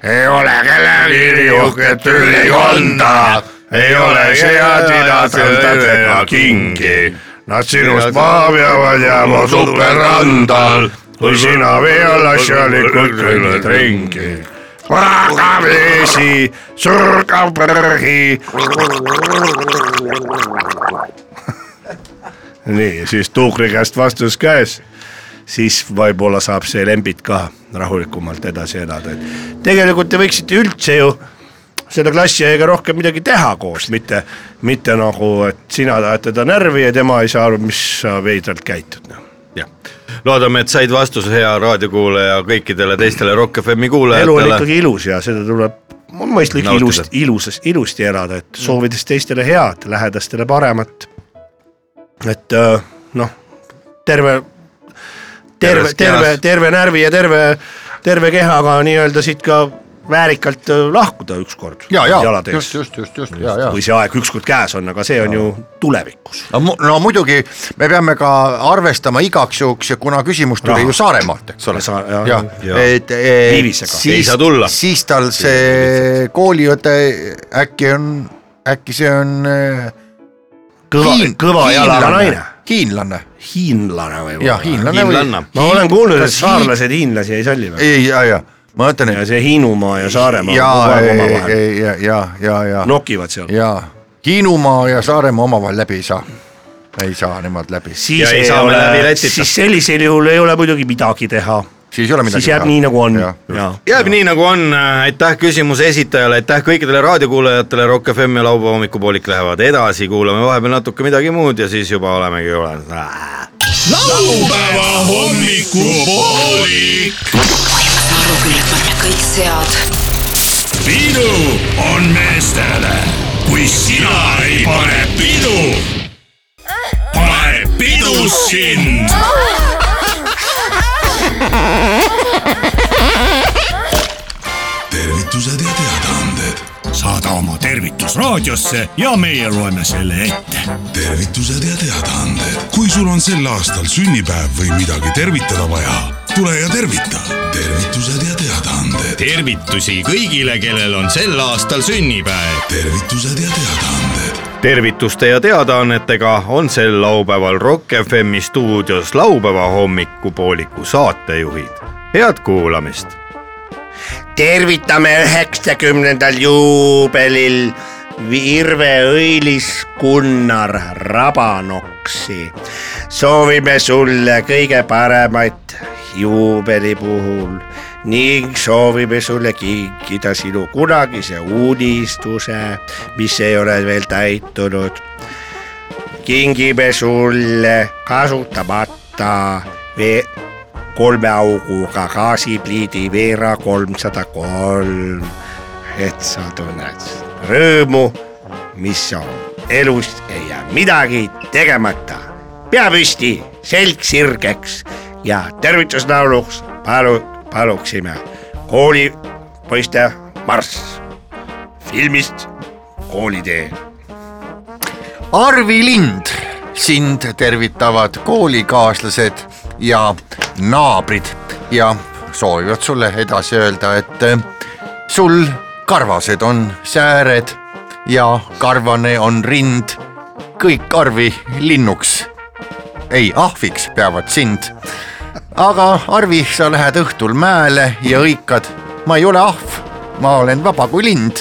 [SPEAKER 8] ei ole kellelgi nii uhket ülikonda , ei ole sead , vinasõldad ega kingi . Nad sinust maha peavad jääma superrandal , kui sina veel asjalikult kõnnid ringi . vaagavesi , surgav põrgi ,
[SPEAKER 3] nii , siis tuukri käest vastus käes , siis võib-olla saab see lembit ka rahulikumalt edasi elada , et tegelikult te võiksite üldse ju selle klassiõega rohkem midagi teha koos , mitte , mitte nagu , et sina tahad teda närvi ja tema ei saa aru , mis sa veidralt käitud noh. no. .
[SPEAKER 1] jah , loodame , et said vastuse , hea raadiokuulaja , kõikidele teistele Rock FM-i
[SPEAKER 3] elu on
[SPEAKER 1] kuulajatele .
[SPEAKER 3] ikkagi ilus ja seda tuleb on mõistlik
[SPEAKER 1] Nautida.
[SPEAKER 3] ilust , ilusas , ilusti elada , et soovides teistele head , lähedastele paremat . et öö, noh , terve , terve
[SPEAKER 1] Terves , kehas.
[SPEAKER 3] terve , terve närvi ja terve , terve kehaga nii-öelda siit ka väärikalt öö, lahkuda ükskord .
[SPEAKER 2] ja , ja , just , just , just , just ja , ja
[SPEAKER 3] kui see aeg ükskord käes on , aga see on ju tulevikus .
[SPEAKER 2] no, . mu- no muidugi me peame ka arvestama igaks juhuks , kuna küsimus tuli
[SPEAKER 3] Raha.
[SPEAKER 2] ju Saaremaalt , eks ole .
[SPEAKER 3] Sa- jah,
[SPEAKER 2] jah ,
[SPEAKER 1] jah.
[SPEAKER 2] et, et
[SPEAKER 3] Liivisega.
[SPEAKER 1] Ei saa tulla.
[SPEAKER 2] siis tal see kooliõde äkki on , äkki see on eh,
[SPEAKER 3] kõva
[SPEAKER 2] hiin- ,
[SPEAKER 3] kõva jalaga
[SPEAKER 2] hiinlane.
[SPEAKER 3] naine ,
[SPEAKER 2] hiinlane ,
[SPEAKER 3] hiinlane
[SPEAKER 2] jah ,
[SPEAKER 3] võib-olla .
[SPEAKER 2] hiinlane
[SPEAKER 1] Hiinlanna.
[SPEAKER 2] või ?
[SPEAKER 3] ma olen kuulnud , et saarlased hiinlasi ei salli väga .
[SPEAKER 2] ei , ja , ja ma mõtlen ,
[SPEAKER 3] ja
[SPEAKER 2] et
[SPEAKER 3] see Hiinumaa ja Saaremaa on
[SPEAKER 2] ja
[SPEAKER 3] kogu , aeg omavahel
[SPEAKER 2] ja , ja , ja , ja ,
[SPEAKER 3] nokivad seal .
[SPEAKER 2] ja Hiinumaa ja Saaremaa omavahel läbi ei saa , ei saa nemad läbi ,
[SPEAKER 3] siis
[SPEAKER 1] Ja ei saa me läbi Lätita.
[SPEAKER 3] siis sellisel juhul ei ole muidugi midagi teha .
[SPEAKER 2] siis ei ole midagi .
[SPEAKER 3] siis jääb nii nagu on .
[SPEAKER 1] jääb nii nagu on , aitäh küsimuse esitajale , aitäh kõikidele raadiokuulajatele , Rock FM ja laupäeva hommikupoolik lähevad edasi , kuulame vahepeal natuke midagi muud ja siis juba olemegi olemas .
[SPEAKER 6] laupäeva hommikupoolik .
[SPEAKER 9] Arukülla panna kõik sead
[SPEAKER 6] pidu on meestele , kui sina ei pane pidu , paneb pidu sind . tervitused ja teadaanded ,
[SPEAKER 7] saada oma tervitus raadiosse ja meie loeme selle ette .
[SPEAKER 6] tervitused ja teadaanded . kui sul on sel aastal sünnipäev või midagi tervitada vaja , tule ja tervita . tervitused ja teadaanded ,
[SPEAKER 4] tervitusi kõigile , kellel on sel aastal sünnipäev .
[SPEAKER 6] tervitused ja teadaanded .
[SPEAKER 1] tervituste ja teadaannetega on sel laupäeval Rock FM-i stuudios laupäeva hommikupooliku saatejuhid . head kuulamist .
[SPEAKER 3] tervitame üheksakümnendal juubelil Virve Õilis Gunnar Rabanoksi . soovime sulle kõige paremat juubeli puhul ning soovime sulle kinkida sinu kunagise unistuse , mis ei ole veel täitunud kingime sulle kasutamata vee kolme auguga gaasipliidi Veera kolmsada kolm , et sa tunned rõõmu , mis on elust ei jää midagi tegemata . pea püsti , selg sirgeks ja tervituslauluks palu- , paluksime koolipoiste marss filmist koolitee .
[SPEAKER 2] Arvi Lind , sind tervitavad koolikaaslased ja naabrid ja soovivad sulle edasi öelda , et eh, sul karvased on sääred ja karvane on rind . kõik Arvi linnuks , ei ahviks peavad sind . aga Arvi , sa lähed õhtul mäele ja hõikad , ma ei ole ahv , ma olen vaba kui lind ,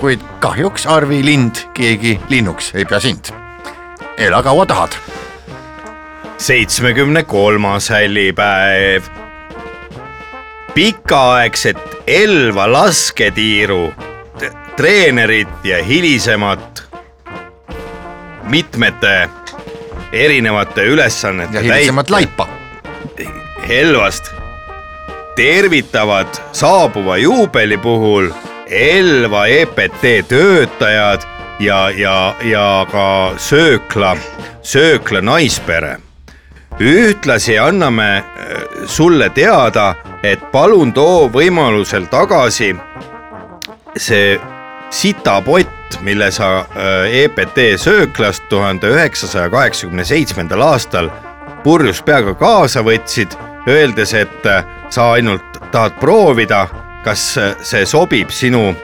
[SPEAKER 2] kuid kahjuks Arvi lind , keegi linnuks ei pea sind . ela kaua tahad .
[SPEAKER 1] seitsmekümne kolmas hällipäev . pikaaegset Elva lasketiiru t- treenerit ja hilisemat mitmete erinevate ülesannete
[SPEAKER 2] ja hilisemat laipa .
[SPEAKER 1] Elvast tervitavad saabuva juubeli puhul Elva EPT töötajad ja , ja , ja ka söökla , söökla naispere . ühtlasi anname äh, sulle teada , et palun too võimalusel tagasi see sitapott , mille sa äh, EPT sööklast tuhande üheksasaja kaheksakümne seitsmendal aastal purjus peaga kaasa võtsid , öeldes , et äh, sa ainult tahad proovida , kas äh, see sobib sinu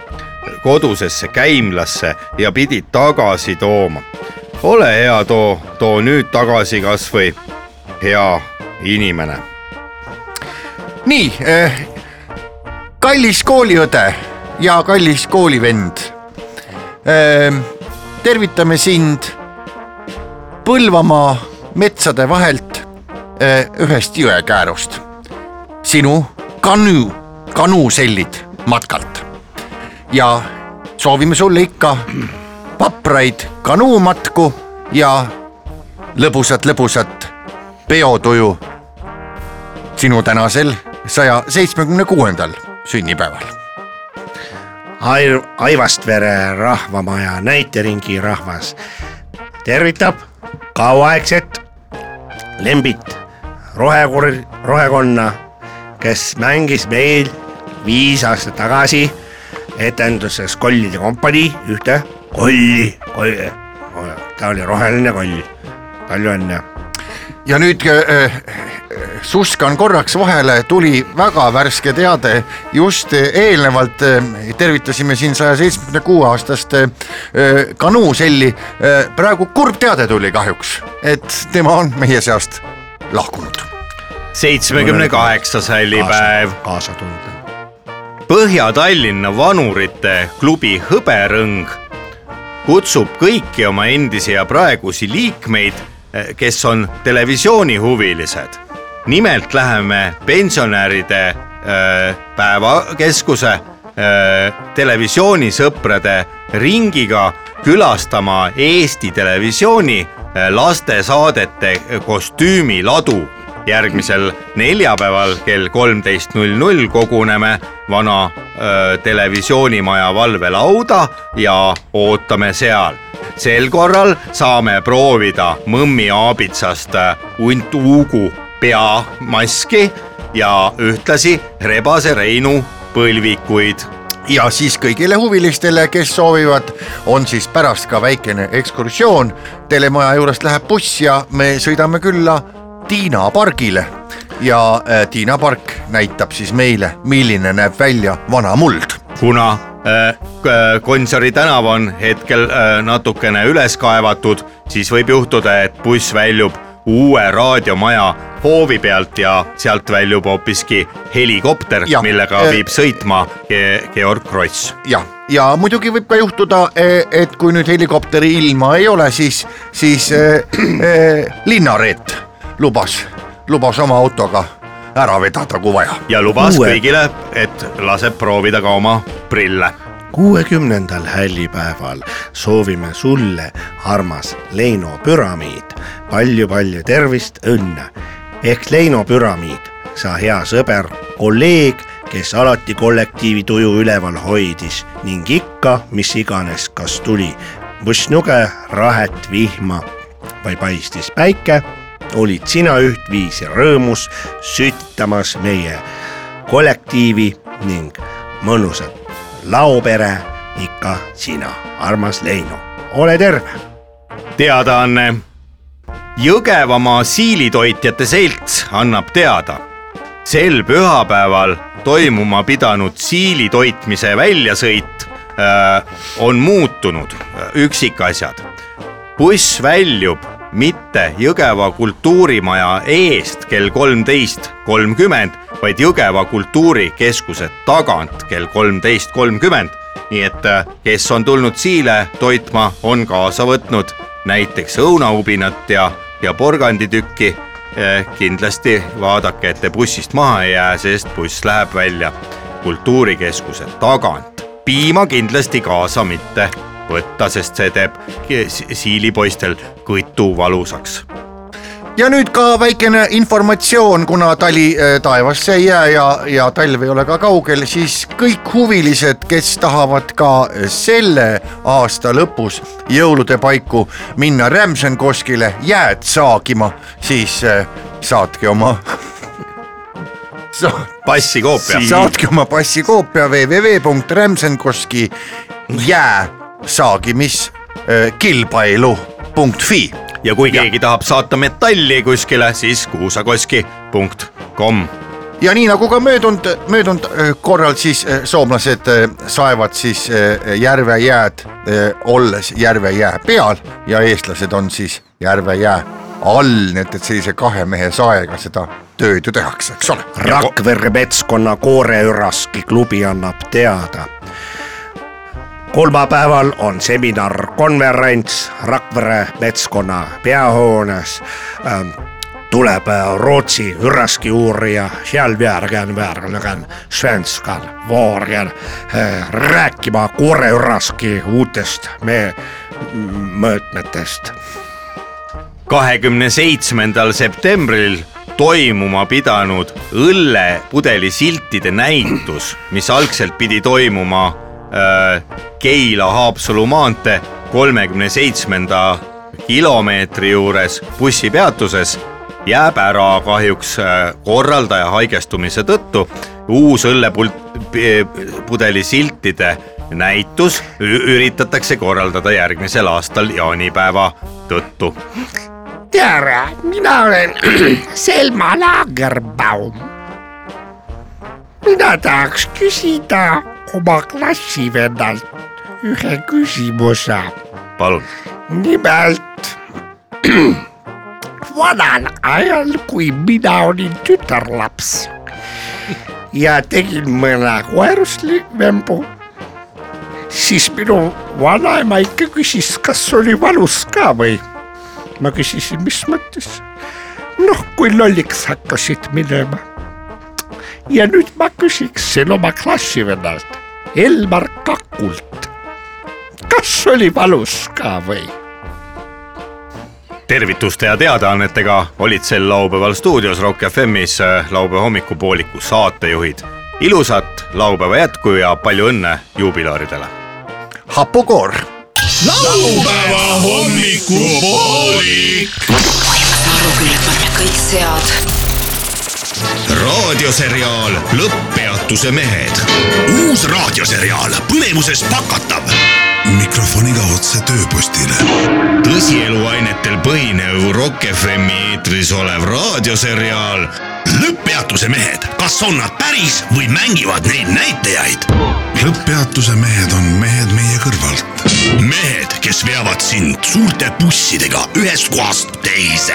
[SPEAKER 1] kodusesse käimlasse ja pidid tagasi tooma . ole hea , too , too nüüd tagasi kasvõi hea inimene .
[SPEAKER 2] nii eh, , kallis kooliõde ja kallis koolivend eh, . tervitame sind Põlvamaa metsade vahelt eh, ühest jõekäärust . sinu kanu , kanusellid matkalt ja soovime sulle ikka vapraid kanuumatku ja lõbusat-lõbusat peotuju sinu tänasel saja seitsmekümne kuuendal sünnipäeval .
[SPEAKER 3] Air- , Aivastvere rahvamaja näiteringi rahvas tervitab kauaaegset Lembit rohekur- , rohekonna , kes mängis meil viis aastat tagasi etenduses Kollide kompanii ühte kolli, kolli , ta oli roheline koll , palju õnne
[SPEAKER 2] ja nüüd äh, suskan korraks vahele , tuli väga värske teade , just eelnevalt äh, tervitasime siin saja seitsmekümne kuue aastast äh, kanuuselli . praegu kurb teade tuli kahjuks , et tema on meie seast lahkunud .
[SPEAKER 1] seitsmekümne kaheksas hällipäev .
[SPEAKER 3] kaasatundel .
[SPEAKER 1] Põhja-Tallinna Vanurite klubi Hõberõng kutsub kõiki oma endisi ja praegusi liikmeid , kes on televisioonihuvilised . nimelt läheme pensionäride öö, päevakeskuse öö, televisioonisõprade ringiga külastama Eesti Televisiooni öö, lastesaadete kostüümiladu järgmisel neljapäeval kell kolmteist null null koguneme vana öö, televisioonimaja valvelauda ja ootame seal . sel korral saame proovida mõmmi aabitsast äh, hunt Uugu peamaski ja ühtlasi rebase Reinu põlvikuid .
[SPEAKER 2] ja siis kõigile huvilistele , kes soovivad , on siis pärast ka väikene ekskursioon . telemaja juurest läheb buss ja me sõidame külla Tiina pargile ja äh, Tiina park näitab siis meile , milline näeb välja vana muld .
[SPEAKER 1] kuna äh, k- Gonsiori tänav on hetkel äh, natukene üles kaevatud , siis võib juhtuda , et buss väljub uue raadiomaja hoovi pealt ja sealt väljub hoopiski helikopter
[SPEAKER 2] Jah, ,
[SPEAKER 1] millega
[SPEAKER 2] äh,
[SPEAKER 1] viib sõitma Ge- Georg Kross .
[SPEAKER 2] jah , ja muidugi võib ka juhtuda , et kui nüüd helikopteri ilma ei ole , siis , siis äh, äh, linnareet lubas , lubas oma autoga ära vedada , kui vaja .
[SPEAKER 1] ja lubas
[SPEAKER 3] Uue.
[SPEAKER 1] uue. kõigile , et laseb proovida ka oma prille .
[SPEAKER 3] kuuekümnendal hällipäeval soovime sulle , armas Leino Püramiid , palju-palju tervist , õnne . ehk Leino Püramiid , sa hea sõber , kolleeg , kes alati kollektiivi tuju üleval hoidis ning ikka , mis iganes , kas tuli võšnuge , rahet , vihma või paistis päike , olid sina ühtviisi rõõmus sütitamas meie kollektiivi ning mõnusat laopere ikka sina , armas Leino . ole terve .
[SPEAKER 1] teadaanne . Jõgevamaa siilitoitjate selts annab teada . sel pühapäeval toimuma pidanud siilitoitmise väljasõit äh, on muutunud äh, üksikasjad . buss väljub mitte Jõgeva kultuurimaja eest kell kolmteist kolmkümmend , vaid Jõgeva kultuurikeskuse tagant kell kolmteist kolmkümmend . nii et äh, kes on tulnud siile toitma , on kaasa võtnud näiteks õunaubinat ja , ja porganditükki . kindlasti vaadake , et te bussist maha ei jää , sest buss läheb välja kultuurikeskuse tagant . piima kindlasti kaasa mitte võtta , sest see teeb ki- si- siilipoistel kõtu valusaks .
[SPEAKER 2] ja nüüd ka väikene informatsioon , kuna tali äh, taevasse ei jää ja , ja talv ei ole ka kaugel , siis kõik huvilised , kes tahavad ka selle aasta lõpus jõulude paiku minna Rämsenkoskile jääd saagima , siis äh, saatke oma *laughs* Sa-
[SPEAKER 1] passikoopia .
[SPEAKER 2] saatke oma passikoopia www.rämsenkoski äh, jääsaagimiskilpailu.fi
[SPEAKER 1] ja kui keegi tahab saata metalli kuskile , siis kuusakoski.com .
[SPEAKER 2] ja nii nagu ka möödunud , möödunud äh, korral siis äh, soomlased äh, saevad siis äh, järvejääd , olles järvejää peal ja eestlased on siis järvejää all , nii et , et sellise kahe mehe saega seda tööd ju tehakse , eks ole .
[SPEAKER 3] Rakvere metskonna kooreüraski klubi annab teada . kolmapäeval on seminar , konverents Rakvere metskonna peahoones ähm, tuleb äh, Rootsi üraski uurija , Svenskan Voorjan äh, rääkima kooreüraski uutest me- , mõõtmetest
[SPEAKER 1] kahekümne seitsmendal septembril toimuma pidanud õllepudeli siltide näitus , mis algselt pidi toimuma äh, Keila-Haapsalu maantee kolmekümne seitsmenda kilomeetri juures bussipeatuses , jääb ära kahjuks äh, korraldaja haigestumise tõttu . uus õllepudeli siltide näitus ü- üritatakse korraldada järgmisel aastal jaanipäeva tõttu
[SPEAKER 5] tere , mina olen *clears throat* Selma Lagerbaum . mina tahaks küsida oma klassivennalt ühe küsimuse ,
[SPEAKER 1] palun .
[SPEAKER 5] nimelt *clears throat* vanal ajal , kui mina olin tütarlaps ja tegin mõne koeruslembu , siis minu vanaema ikka küsis , kas oli valus ka või ma küsisin , mis mõttes . noh , kui lolliks hakkasid minema . ja nüüd ma küsiksin oma klassivennalt Elmar Kakult . kas oli valus ka või ?
[SPEAKER 1] tervituste ja teadaannetega olid sel laupäeval stuudios Rock FM-is äh, laupäeva hommikupooliku saatejuhid . ilusat laupäeva jätku ja palju õnne juubilaaridele .
[SPEAKER 2] Hapogor
[SPEAKER 6] laupäeva hommikupoolik .
[SPEAKER 9] ma ei saa aru küll , et ma olen kõik sead
[SPEAKER 4] raadioseriaal Lõpppeatuse mehed
[SPEAKER 6] uus raadioseriaal , põnevuses pakatav . mikrofoniga otse tööpostile .
[SPEAKER 4] tõsieluainetel põhinev Rock FM-i eetris olev raadioseriaal
[SPEAKER 6] lõpppeatuse mehed , kas on nad päris või mängivad neid näitajaid ? lõpppeatuse mehed on mehed meie kõrvalt . mehed , kes veavad sind suurte bussidega ühest kohast teise .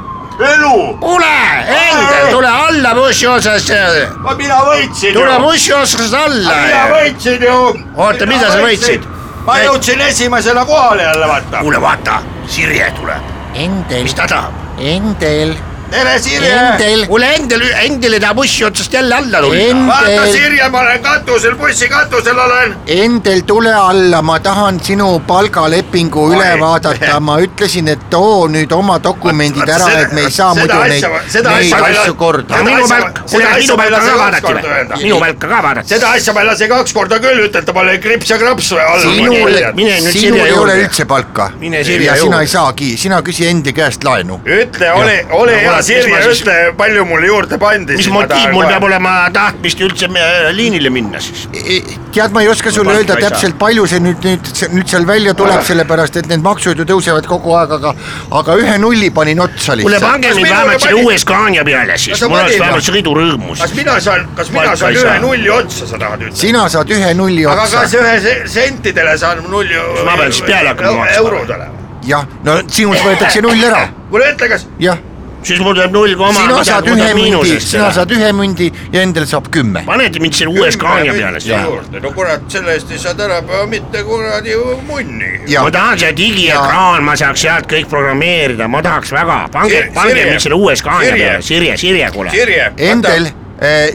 [SPEAKER 8] elu ,
[SPEAKER 3] tule , Endel , tule alla bussi otsast ,
[SPEAKER 8] aga mina võitsin
[SPEAKER 3] tule
[SPEAKER 8] ju ,
[SPEAKER 3] bussi otsast
[SPEAKER 8] mina
[SPEAKER 3] alla .
[SPEAKER 8] võitsin ju .
[SPEAKER 3] Oota, mida sa võitsid? ?
[SPEAKER 8] ma jõudsin esimesena kohale jälle , vaata .
[SPEAKER 3] kuule , vaata , Sirje tuleb . Endel . mis ta tahab ?
[SPEAKER 5] Endel ,
[SPEAKER 1] tere , Sirje .
[SPEAKER 2] Endel ,
[SPEAKER 1] mulle endel , endel ei taha bussi otsast jälle alla lumida .
[SPEAKER 2] Endel ,
[SPEAKER 1] Sirje , ma olen katusel , bussi katusel olen .
[SPEAKER 2] Endel , tule alla , ma tahan sinu palgalepingu
[SPEAKER 1] Oi.
[SPEAKER 2] üle vaadata , ma ütlesin , et too nüüd oma dokumendid
[SPEAKER 1] Vaat- vaat
[SPEAKER 2] ära ,
[SPEAKER 1] seda-
[SPEAKER 2] et me ei saa
[SPEAKER 1] seda
[SPEAKER 2] muidu
[SPEAKER 1] asja
[SPEAKER 2] neid
[SPEAKER 1] ma- , seda
[SPEAKER 2] neid
[SPEAKER 1] asja ma ei
[SPEAKER 2] asju
[SPEAKER 1] la-
[SPEAKER 2] korda
[SPEAKER 1] seda .
[SPEAKER 10] minu
[SPEAKER 1] asja-
[SPEAKER 10] palk ,
[SPEAKER 1] seda
[SPEAKER 10] kuule
[SPEAKER 1] asja
[SPEAKER 10] minu
[SPEAKER 1] ma
[SPEAKER 10] palka
[SPEAKER 1] ei lase
[SPEAKER 10] ka
[SPEAKER 1] kaks
[SPEAKER 10] vaadati
[SPEAKER 1] korda öelda.
[SPEAKER 10] või ? minu palka ka vaadati .
[SPEAKER 1] seda asja ma ei lase kaks korda küll , ütelda mulle krips ja kraps või
[SPEAKER 2] sinul
[SPEAKER 1] alla .,
[SPEAKER 5] Mine nüüd
[SPEAKER 2] sinul
[SPEAKER 5] Sirje
[SPEAKER 2] ei ole
[SPEAKER 5] juurde.
[SPEAKER 2] üldse palka .
[SPEAKER 5] Mine Sirje
[SPEAKER 2] ja sina
[SPEAKER 5] juurde.
[SPEAKER 2] ei saagi , sina küsi Endli käest
[SPEAKER 5] *laughs*
[SPEAKER 2] laenu .
[SPEAKER 1] ütle , ole , ole
[SPEAKER 5] No
[SPEAKER 1] hea
[SPEAKER 5] vaat, mis ma
[SPEAKER 1] Sirje ,
[SPEAKER 5] siis-
[SPEAKER 1] ütle , palju mulle juurde pandi .
[SPEAKER 5] mis motiiv mul peab olema tahtmist üldse me- liinile minna siis ?
[SPEAKER 2] E, tead , ma ei oska sulle
[SPEAKER 5] palka
[SPEAKER 2] öelda
[SPEAKER 5] ei saa. Äh.
[SPEAKER 2] täpselt , palju see nüüd , nüüd , nüüd seal välja tuleb , sellepärast et need maksud ju tõusevad kogu aeg , aga , aga ühe nulli panin otsa
[SPEAKER 5] kuule ,
[SPEAKER 2] lihtsalt .
[SPEAKER 5] pange
[SPEAKER 1] Kas
[SPEAKER 5] mind
[SPEAKER 1] minule
[SPEAKER 5] vähemalt selle
[SPEAKER 1] pani-
[SPEAKER 5] uue Scania peale siis ,
[SPEAKER 1] Kas sa
[SPEAKER 5] mul oleks
[SPEAKER 1] panid,
[SPEAKER 5] vähemalt sõidu rõõmus .
[SPEAKER 1] kas mina saan , kas mina
[SPEAKER 5] Palka
[SPEAKER 1] saan
[SPEAKER 5] ei
[SPEAKER 1] ühe
[SPEAKER 5] saa.
[SPEAKER 1] nulli otsa , sa tahad ütelda ?
[SPEAKER 2] sina saad ühe nulli
[SPEAKER 1] aga
[SPEAKER 2] otsa
[SPEAKER 1] kas . ühe se- sentidele saan nulli ?
[SPEAKER 5] ma pean siis peale hakkama maksma?
[SPEAKER 1] eurodele .
[SPEAKER 2] jah , no sinult võetakse null ära ,
[SPEAKER 1] kuule ütle , kas
[SPEAKER 2] jah .
[SPEAKER 5] siis mul tuleb null koma .
[SPEAKER 2] sina saad ühe mündi , sina saad ühe mündi ja Endel saab kümme .
[SPEAKER 5] panete mind selle uue Scania peale
[SPEAKER 1] siis
[SPEAKER 5] siis .
[SPEAKER 1] juurde , no kurat , selle eest ei saa tänapäeva mitte kuradi munni .
[SPEAKER 2] ja
[SPEAKER 5] ma tahan seda digiekraan , ma saaks sealt kõik programmeerida , ma tahaks väga , pange
[SPEAKER 1] Sir- ,
[SPEAKER 5] pange
[SPEAKER 1] Sirje.
[SPEAKER 5] mind selle uue Scania
[SPEAKER 1] Sirje.
[SPEAKER 5] peale , Sirje , Sirje , kuule .
[SPEAKER 1] Sirje .
[SPEAKER 2] Endel ,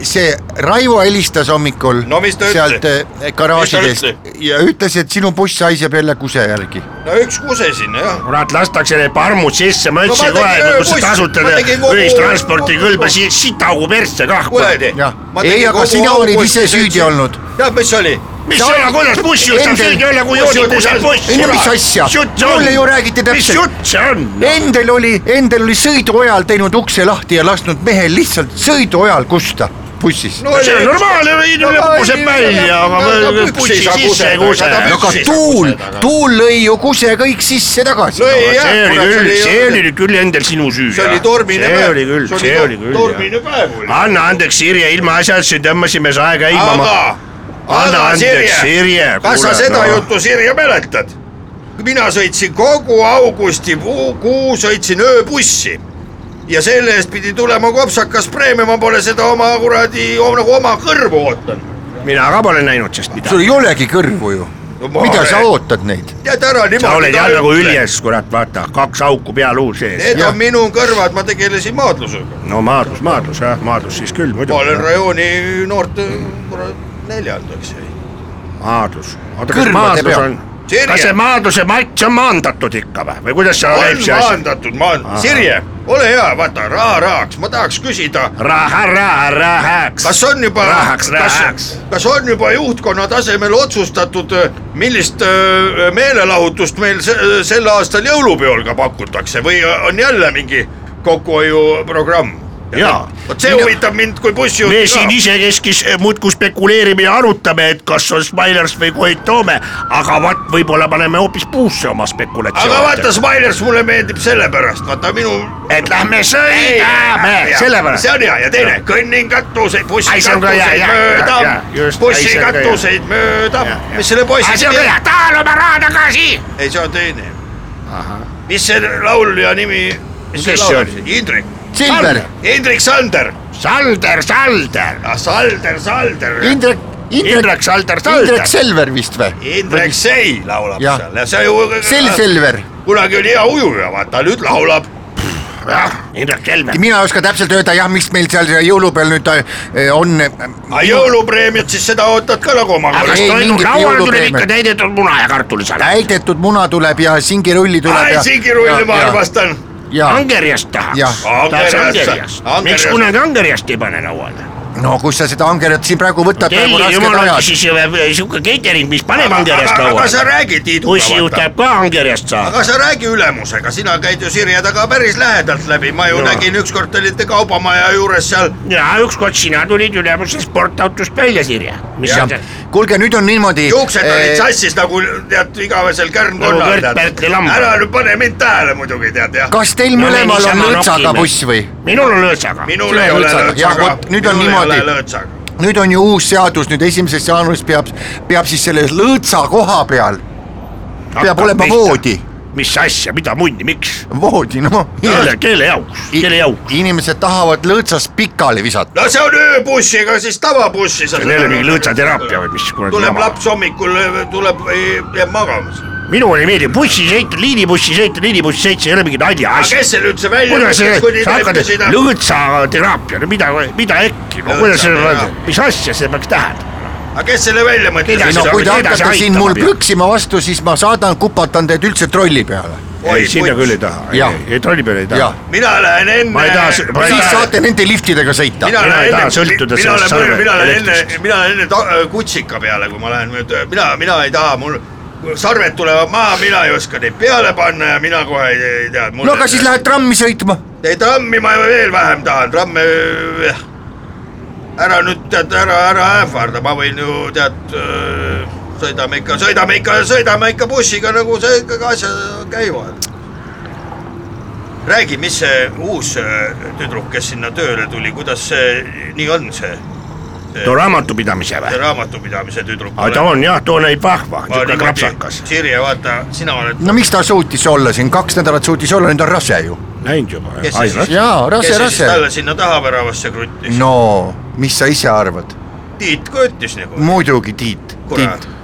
[SPEAKER 2] see Raivo helistas hommikul
[SPEAKER 1] No mis ta ütles?
[SPEAKER 2] sealt eh, garaažidest
[SPEAKER 1] Mis ta
[SPEAKER 2] ja ütles , et sinu buss haiseb jälle kuse järgi .
[SPEAKER 1] no üks kuse sinna jah .
[SPEAKER 5] kurat , lastakse need parmud sisse , ma ütlesin
[SPEAKER 1] ma
[SPEAKER 5] kohe ,
[SPEAKER 1] tegin
[SPEAKER 5] et kui sa
[SPEAKER 1] bussi-
[SPEAKER 5] tasuta
[SPEAKER 1] ma tegin kogu-
[SPEAKER 5] ühistransporti ei kõlba ,
[SPEAKER 1] kogu-
[SPEAKER 5] siis siit augub persse kah .
[SPEAKER 1] kuradi
[SPEAKER 2] Jah. . Ei, aga sina olid ise süüdi olnud. .
[SPEAKER 1] tead , mis oli ?
[SPEAKER 5] mis sa oled , kuidas bussijuht saab
[SPEAKER 2] Endel-
[SPEAKER 5] süüdi olla , kui
[SPEAKER 1] bussijuht
[SPEAKER 5] joodiku
[SPEAKER 1] ei saa-
[SPEAKER 5] saab bussi .
[SPEAKER 2] ei no mis asja , mulle ju räägiti
[SPEAKER 5] mis
[SPEAKER 2] täpselt .
[SPEAKER 5] jutt see on ?
[SPEAKER 2] Endel oli , Endel oli sõidu ajal teinud ukse lahti ja lasknud mehel lihtsalt sõidu ajal kusta bussis .
[SPEAKER 5] see on normaalne , inimene kuseb välja , aga bussi sisse ei kuse .
[SPEAKER 2] no aga tuul , tuul lõi ju kuse kõik sisse tagasi .
[SPEAKER 1] lõi jah .
[SPEAKER 5] see oli küll , see oli nüüd küll Endel sinu süü .
[SPEAKER 1] see oli tormine
[SPEAKER 5] see
[SPEAKER 1] päev .
[SPEAKER 5] oli küll , see oli küll .
[SPEAKER 1] tormine päev oli .
[SPEAKER 5] anna andeks , Sirje , ilmaasjasse tõmbasime sa aega
[SPEAKER 1] aga
[SPEAKER 5] ilma . anna andeks , Sirje . noh.
[SPEAKER 1] kas sa seda no. ? juttu , Sirje , mäletad ? mina sõitsin kogu augustikuu , sõitsin ööbussi ja selle eest pidi tulema kopsakas preemia , ma pole seda oma kuradi , nagu oma kõrvu ootanud .
[SPEAKER 5] mina ka pole näinud sest midagi .
[SPEAKER 2] sul ei olegi kõrvu ju ,
[SPEAKER 1] No ma
[SPEAKER 2] mida sa
[SPEAKER 1] olen-
[SPEAKER 2] ootad neid ?
[SPEAKER 1] tead ära , niimoodi .
[SPEAKER 5] sa oled jah nagu hüljes , kurat , vaata , kaks auku pealuu sees .
[SPEAKER 1] Need on minu kõrvad , ma tegelesin maadlusega ,
[SPEAKER 5] no maadlus , maadlus jah , maadlus siis küll
[SPEAKER 1] ma olen
[SPEAKER 5] muidugi .
[SPEAKER 1] rajooni noorte kurat neljandaks jäin .
[SPEAKER 5] maadlus . oota , kas
[SPEAKER 2] Kõrvade
[SPEAKER 5] maadlus
[SPEAKER 2] peal.
[SPEAKER 5] on ,
[SPEAKER 1] Sirje.
[SPEAKER 5] kas see maadluse matš on maandatud ikka või , või kuidas seal
[SPEAKER 1] on
[SPEAKER 5] käib see asi ?
[SPEAKER 1] maandatud , ma , Sirje , ole hea , vaata raha rahaks , ma tahaks küsida ,
[SPEAKER 5] raha , raha , rahaks .
[SPEAKER 1] kas on juba ,
[SPEAKER 5] rahaks , rahaks
[SPEAKER 1] kas , kas on juba juhtkonna tasemel otsustatud , millist öö, meelelahutust meil se- sel aastal jõulupeol ka pakutakse või äh, on jälle mingi kokkuhoiuprogramm ?
[SPEAKER 5] jaa
[SPEAKER 1] vot see huvitab mind kui
[SPEAKER 5] me
[SPEAKER 1] bussijuhti
[SPEAKER 5] siin
[SPEAKER 1] ka .
[SPEAKER 5] isekeskis muudkui spekuleerime ja arutame , et kas on Smilers või Koit Toome , aga vat võib-olla paneme hoopis puusse oma
[SPEAKER 1] aga vaata ,
[SPEAKER 5] spekulatsioone .
[SPEAKER 1] Smilers mulle meeldib sellepärast , vaata minu
[SPEAKER 5] et lähme
[SPEAKER 1] Ei,
[SPEAKER 5] sõidame ,
[SPEAKER 1] jah,
[SPEAKER 5] sellepärast
[SPEAKER 1] see . on hea ja teine , kõnnin katuseid ,
[SPEAKER 5] Ai, see on ka hea,
[SPEAKER 1] bussikatuseid
[SPEAKER 5] jah,
[SPEAKER 1] mööda
[SPEAKER 5] jah, jah, , just, ai, see on ka hea.
[SPEAKER 1] bussikatuseid mööda , ah, mis selle poisi
[SPEAKER 5] Ah, see on
[SPEAKER 1] nimi
[SPEAKER 5] hea , tahan oma raha tagasi .
[SPEAKER 1] on ? ei , see on teine . mis selle laulja nimi , mis see
[SPEAKER 5] Kes see
[SPEAKER 1] laulja
[SPEAKER 5] oli? ,
[SPEAKER 1] Indrek ,
[SPEAKER 2] Silver ,
[SPEAKER 1] Indrek Sander ,
[SPEAKER 5] Salder , Salder ,
[SPEAKER 3] Ah,
[SPEAKER 1] Salder , Salder ,
[SPEAKER 2] Indrek , Indrek ,
[SPEAKER 5] Indrek Salder , Salder
[SPEAKER 2] Indrek . Selver vist või ?
[SPEAKER 1] Indrek Sei laulab
[SPEAKER 2] Jah.
[SPEAKER 1] seal ja see ju
[SPEAKER 2] Sel Selver ,
[SPEAKER 1] kunagi oli hea ujuja , vaata nüüd laulab ,
[SPEAKER 5] Indrek Helme .
[SPEAKER 2] mina ei oska täpselt öelda jah , mis meil seal jõulupeal nüüd eh, on .
[SPEAKER 1] aga Ah, jõulupreemiat siis seda ootad ka nagu oma
[SPEAKER 5] aga
[SPEAKER 1] korda .
[SPEAKER 5] kas
[SPEAKER 2] Ei,
[SPEAKER 5] toimub
[SPEAKER 2] mingit
[SPEAKER 5] laual , tuleb
[SPEAKER 2] jõulupreemiat.
[SPEAKER 5] ikka täidetud muna ja kartulisalat .
[SPEAKER 2] täidetud muna tuleb ja singirulli tuleb ja .
[SPEAKER 1] ai , singirulli ma . armastan ,
[SPEAKER 2] ja ,
[SPEAKER 5] angerjast
[SPEAKER 2] Jah.
[SPEAKER 5] tahaks .
[SPEAKER 1] Angerjast.
[SPEAKER 5] miks
[SPEAKER 1] Angerjast.
[SPEAKER 5] kunagi angerjast ei pane lauale ?
[SPEAKER 2] no kus sa seda angerjat siin praegu võtad , praegu
[SPEAKER 5] tellige
[SPEAKER 2] rasked
[SPEAKER 5] jumal hoidku
[SPEAKER 2] ajad .
[SPEAKER 5] siis äh, siuke catering , mis paneb
[SPEAKER 1] aga
[SPEAKER 5] angerjast
[SPEAKER 1] aga- aga sa
[SPEAKER 5] lauale .
[SPEAKER 1] räägi Tiiduga ,
[SPEAKER 5] bussijuht
[SPEAKER 1] vaata
[SPEAKER 5] läheb ka angerjast saama .
[SPEAKER 1] aga sa räägi ülemusega , sina käid ju Sirje taga päris lähedalt läbi , ma ju
[SPEAKER 5] Jaa.
[SPEAKER 1] nägin , ükskord te olite kaubamaja juures seal .
[SPEAKER 5] ja ükskord sina tulid ülemuse sportautost välja , Sirje . mis sa teed ?
[SPEAKER 2] kuulge , nüüd on niimoodi .
[SPEAKER 1] *laughs*
[SPEAKER 2] äh,
[SPEAKER 1] juuksed olid sassis nagu tead igavesel
[SPEAKER 5] Nagu
[SPEAKER 1] kärnkonnal
[SPEAKER 5] Kört Pärtli lamba.
[SPEAKER 1] ära nüüd pane mind tähele muidugi tead jah .
[SPEAKER 2] kas teil
[SPEAKER 5] No me
[SPEAKER 2] mõlemal on
[SPEAKER 5] niisama
[SPEAKER 2] lõõtsaga
[SPEAKER 5] nokime.
[SPEAKER 2] buss või ?
[SPEAKER 5] minul on lõõtsaga .
[SPEAKER 1] minul
[SPEAKER 2] Sina
[SPEAKER 1] ei ole
[SPEAKER 2] lõõtsaga. Jah,
[SPEAKER 1] lõõtsaga
[SPEAKER 2] vot, . nüüd on niimoodi. nüüd on ju uus seadus nüüd esimesest jaanuarist peab , peab siis selle lõõtsa koha peal , peab olema voodi ,
[SPEAKER 5] mis asja , mida munni , miks ?
[SPEAKER 2] voodi noh .
[SPEAKER 5] keele , keeleauks , keeleauk .
[SPEAKER 2] inimesed tahavad lõõtsast pikali visata .
[SPEAKER 1] no see on ööbussi , ega siis tavabussi .
[SPEAKER 5] see on jälle mingi lõõtsateraapia või mis kuradi
[SPEAKER 1] tuleb
[SPEAKER 5] jama.
[SPEAKER 1] laps hommikul , tuleb , jääb magama .
[SPEAKER 3] minule ei meeldi bussisõit , liinibussisõit , liinibussisõit , see ei ole mingi naljaasi .
[SPEAKER 11] kes selle üldse välja
[SPEAKER 3] kuidas
[SPEAKER 11] mõtles, kui nii
[SPEAKER 3] see , sa hakkad
[SPEAKER 11] täpselt seda-
[SPEAKER 3] lõõtsateraapia , no mida , mida äkki , no kuidas see
[SPEAKER 11] Lõõtsateraapia. ,
[SPEAKER 3] mis asja see peaks tähendama ?
[SPEAKER 11] aga kes selle välja mõtles ?
[SPEAKER 2] no kui te hakkate siin mul plõksima vastu , siis ma saadan , kupatan teid üldse trolli peale .
[SPEAKER 3] ei , sinna küll ei taha , ei
[SPEAKER 2] Jah. ,
[SPEAKER 3] ei trolli peale ei taha
[SPEAKER 2] Jah. .
[SPEAKER 11] mina lähen enne .
[SPEAKER 3] Ma ei taha s- ma ei
[SPEAKER 2] siis
[SPEAKER 3] taha-
[SPEAKER 2] saate nende liftidega sõita .
[SPEAKER 11] mina
[SPEAKER 3] Mina ei
[SPEAKER 11] lähen
[SPEAKER 3] taha
[SPEAKER 11] enne
[SPEAKER 3] sõltuda ,
[SPEAKER 11] mina
[SPEAKER 3] sellest
[SPEAKER 11] lähen ,
[SPEAKER 3] sarve
[SPEAKER 11] mina lähen enne ,
[SPEAKER 3] elektrist.
[SPEAKER 11] mina lähen enne ta- äh, kutsika peale , kui ma lähen mööda , mina , mina ei taha , mul sarved tulevad maha , mina ei oska neid peale panna ja mina kohe ei, ei tea .
[SPEAKER 2] no aga siis lähed trammi sõitma .
[SPEAKER 11] ei trammi ma veel vähem tahan , tramme . ära nüüd tead , ära , ära ähvarda , ma võin ju tead , sõidame ikka , sõidame ikka , sõidame ikka bussiga , nagu see kõik asjad käivad . räägi , mis see uus öö, tüdruk , kes sinna tööle tuli , kuidas see nii on , see
[SPEAKER 3] too raamatupidamise või ?
[SPEAKER 11] see raamatupidamise tüdruk ?
[SPEAKER 3] aga ta on jah , too näib vahva , niisugune krapsakas .
[SPEAKER 11] Sirje , vaata , sina oled ,
[SPEAKER 2] no miks ta suutis olla siin , kaks nädalat suutis olla , nüüd on rase ju .
[SPEAKER 3] näinud juba Ah,
[SPEAKER 11] Kes
[SPEAKER 3] Ai,
[SPEAKER 11] see siis-
[SPEAKER 2] jaa ,
[SPEAKER 11] kes
[SPEAKER 2] rase ,
[SPEAKER 11] see siis
[SPEAKER 2] rase .
[SPEAKER 11] talle sinna tahaväravasse kruttis no. ?
[SPEAKER 2] no mis sa ise arvad ?
[SPEAKER 11] Tiit küttis nagu ,
[SPEAKER 2] muidugi Tiit ,
[SPEAKER 11] kurat
[SPEAKER 2] Tiit .,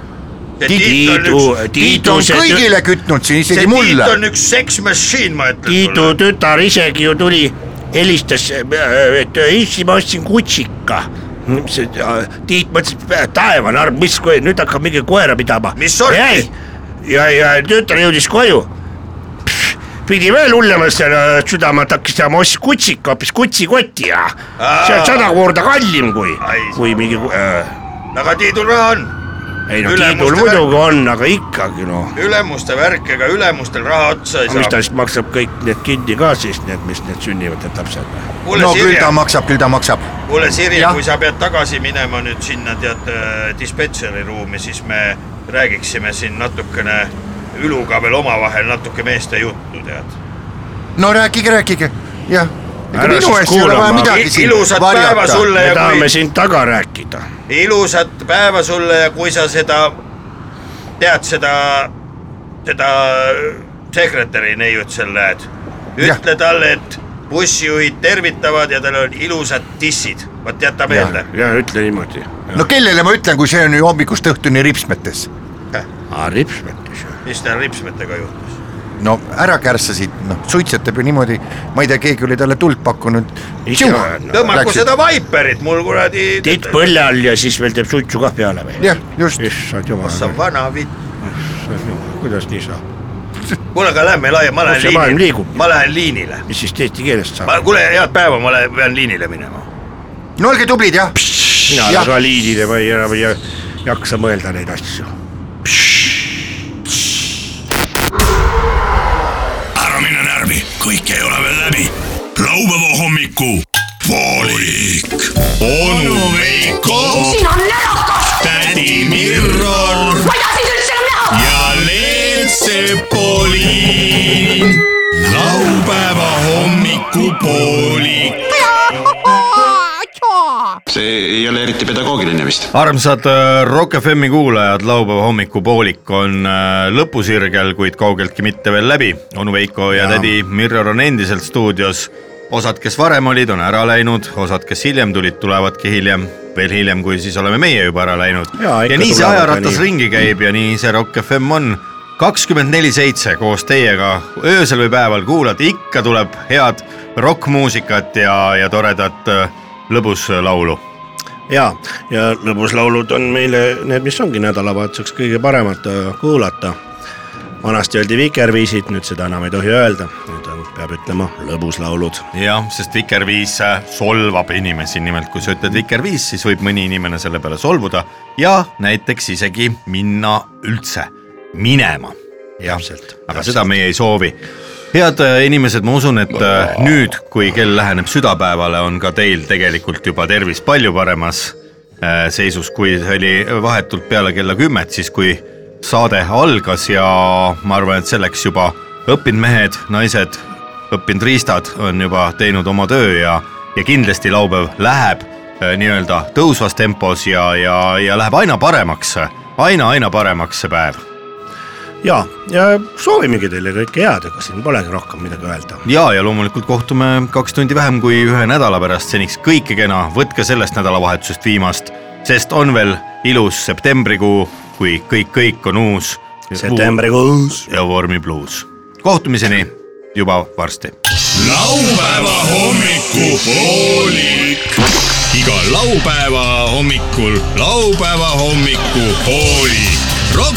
[SPEAKER 3] Tiidu ,
[SPEAKER 2] Tiit
[SPEAKER 3] Tiidu
[SPEAKER 2] on kõigile kütnud siin ,
[SPEAKER 11] see
[SPEAKER 2] isegi
[SPEAKER 11] Tiit
[SPEAKER 2] mulle .
[SPEAKER 11] on üks sex machine , ma ütlen
[SPEAKER 3] Tiidu
[SPEAKER 11] sulle .
[SPEAKER 3] tütar isegi ju tuli , helistas , et äh, issi , ma ostsin kutsika . äh, Tiit mõtles , et taevane arm , mis , nüüd hakkab mingi koera pidama .
[SPEAKER 11] Mis sorti?
[SPEAKER 3] ja , ja tütar jõudis koju . pidi veel hullemasse südame takkis ja ma ostsin kutsika hoopis , kutsikoti ja
[SPEAKER 11] Aa.
[SPEAKER 3] see on sada korda kallim kui
[SPEAKER 11] Ai, ,
[SPEAKER 3] kui mingi äh, ,
[SPEAKER 11] aga Tiidul raha on ,
[SPEAKER 3] ei no
[SPEAKER 11] Ülemuste
[SPEAKER 3] Tiidul
[SPEAKER 11] värk.
[SPEAKER 3] muidugi on , aga ikkagi noh ,
[SPEAKER 11] ülemuste värk , ega ülemustel raha otsa ei
[SPEAKER 3] mis ta
[SPEAKER 11] saa .
[SPEAKER 3] siis maksab kõik need kinni ka siis need , mis need sünnivad , need lapsed
[SPEAKER 11] kuule
[SPEAKER 2] no küll
[SPEAKER 11] Sirje
[SPEAKER 2] ta , maksab , küll ta maksab .
[SPEAKER 11] kuule Sirje ,
[SPEAKER 2] Jah.
[SPEAKER 11] kui sa pead tagasi minema nüüd sinna tead äh, dispetšeri ruumi , siis me räägiksime siin natukene Üluga veel omavahel natuke meeste juttu tead .
[SPEAKER 2] no rääkige , rääkige , jah . ega
[SPEAKER 3] Ära
[SPEAKER 2] minu
[SPEAKER 3] siis
[SPEAKER 2] eest ei ole
[SPEAKER 3] kuula,
[SPEAKER 2] vaja
[SPEAKER 3] ma-
[SPEAKER 2] midagi siin
[SPEAKER 11] ilusat päeva
[SPEAKER 2] varjata .
[SPEAKER 11] sulle
[SPEAKER 3] me
[SPEAKER 11] ja
[SPEAKER 3] tahame
[SPEAKER 11] kui
[SPEAKER 3] sind taga rääkida .
[SPEAKER 11] ilusat päeva sulle ja kui sa seda , tead seda , seda äh, sekretäri neiut seal näed , ütle ja. talle , et bussijuhid tervitavad ja tal on ilusad tissid , vot jäta meelde .
[SPEAKER 3] ja ütle niimoodi .
[SPEAKER 2] no kellele ma ütlen , kui see on ju hommikust õhtuni ripsmetes .
[SPEAKER 3] Ah, ripsmetis .
[SPEAKER 11] mis teil ripsmetega juhtus ?
[SPEAKER 2] no ära kärssa siit , noh , suitsetab ju niimoodi , ma ei tea , keegi oli talle tuld pakkunud .
[SPEAKER 3] Ah,
[SPEAKER 11] tõmmaku
[SPEAKER 2] Läksid.
[SPEAKER 11] seda vaiperit , mul kuradi .
[SPEAKER 3] titt põlve all ja siis veel teeb suitsu kah peale või ?
[SPEAKER 2] jah , just ,
[SPEAKER 3] issand jumal ,
[SPEAKER 11] sa vana vitt ,
[SPEAKER 3] kuidas nii saab ,
[SPEAKER 11] kuule aga lähme laia , ma lähen
[SPEAKER 3] see maailm
[SPEAKER 11] liinile
[SPEAKER 3] liigub. ,
[SPEAKER 11] ma lähen liinile ,
[SPEAKER 3] mis siis eesti keelest saab
[SPEAKER 11] ma ,? kuule head päeva , ma lähen , pean liinile minema .
[SPEAKER 2] no olge tublid jah ,
[SPEAKER 3] mina
[SPEAKER 2] jah.
[SPEAKER 3] olen ka liidide või enam ei ei jaksa mõelda neid asju .
[SPEAKER 6] ära mine närvi , kõik ei ole veel läbi . laupäeva hommiku poolik . onu Veiko ,
[SPEAKER 9] siin on närakas ,
[SPEAKER 6] tädi Mirro
[SPEAKER 9] ma ei taha sind üldse enam näha .
[SPEAKER 6] ja Leelsepoliin . laupäeva hommikupoolik .
[SPEAKER 12] see ei ole eriti pedagoogiline vist .
[SPEAKER 1] armsad äh, Rock FM-i kuulajad , laupäeva hommikupoolik on äh, lõpusirgel , kuid kaugeltki mitte veel läbi . onu Veiko ja, ja tädi Mirror on endiselt stuudios . osad , kes varem olid , on ära läinud , osad , kes hiljem tulid , tulevadki hiljem , veel hiljem , kui siis oleme meie juba ära läinud .
[SPEAKER 3] Jaa, ikka
[SPEAKER 1] ja nii see
[SPEAKER 3] tulevad
[SPEAKER 1] ajaratas
[SPEAKER 3] veel
[SPEAKER 1] ringi käib ja nii see Rock FM on kakskümmend neli seitse koos teiega , öösel või päeval kuulad , ikka tuleb head rokkmuusikat ja , ja toredat äh, lõbus laulu
[SPEAKER 3] ja , ja lõbuslaulud on meile need , mis ongi nädalavahetuseks kõige paremad äh, kuulata . vanasti öeldi vikerviisid , nüüd seda enam ei tohi öelda , nüüd on , peab ütlema lõbuslaulud .
[SPEAKER 1] jah , sest Vikerviis solvab inimesi , nimelt kui sa ütled Vikerviis , siis võib mõni inimene selle peale solvuda ja näiteks isegi minna üldse minema . jah ,
[SPEAKER 3] Täpselt,
[SPEAKER 1] aga seda meie ei soovi . head äh, inimesed , ma usun , et äh, nüüd , kui kell läheneb südapäevale , on ka teil tegelikult juba tervis palju paremas äh, seisus , kui see oli vahetult peale kella kümmet , siis kui saade algas ja ma arvan , et selleks juba õppinud mehed , naised õppinud riistad on juba teinud oma töö ja , ja kindlasti laupäev läheb eh, nii-öelda tõusvas tempos ja , ja , ja läheb aina paremaks , aina , aina paremaks see päev .
[SPEAKER 3] ja , ja soovimegi teile kõike head , ega siin polegi rohkem midagi öelda .
[SPEAKER 1] ja , ja loomulikult kohtume kaks tundi vähem kui ühe nädala pärast , seniks kõike kena , võtke sellest nädalavahetusest viimast , sest on veel ilus septembrikuu , kui kõik , kõik on uus
[SPEAKER 3] septembrikuus .
[SPEAKER 1] ja vormipluus . kohtumiseni juba varsti .
[SPEAKER 6] laupäeva hommikupoolik . iga laupäeva hommikul laupäeva hommikupoolik . Rock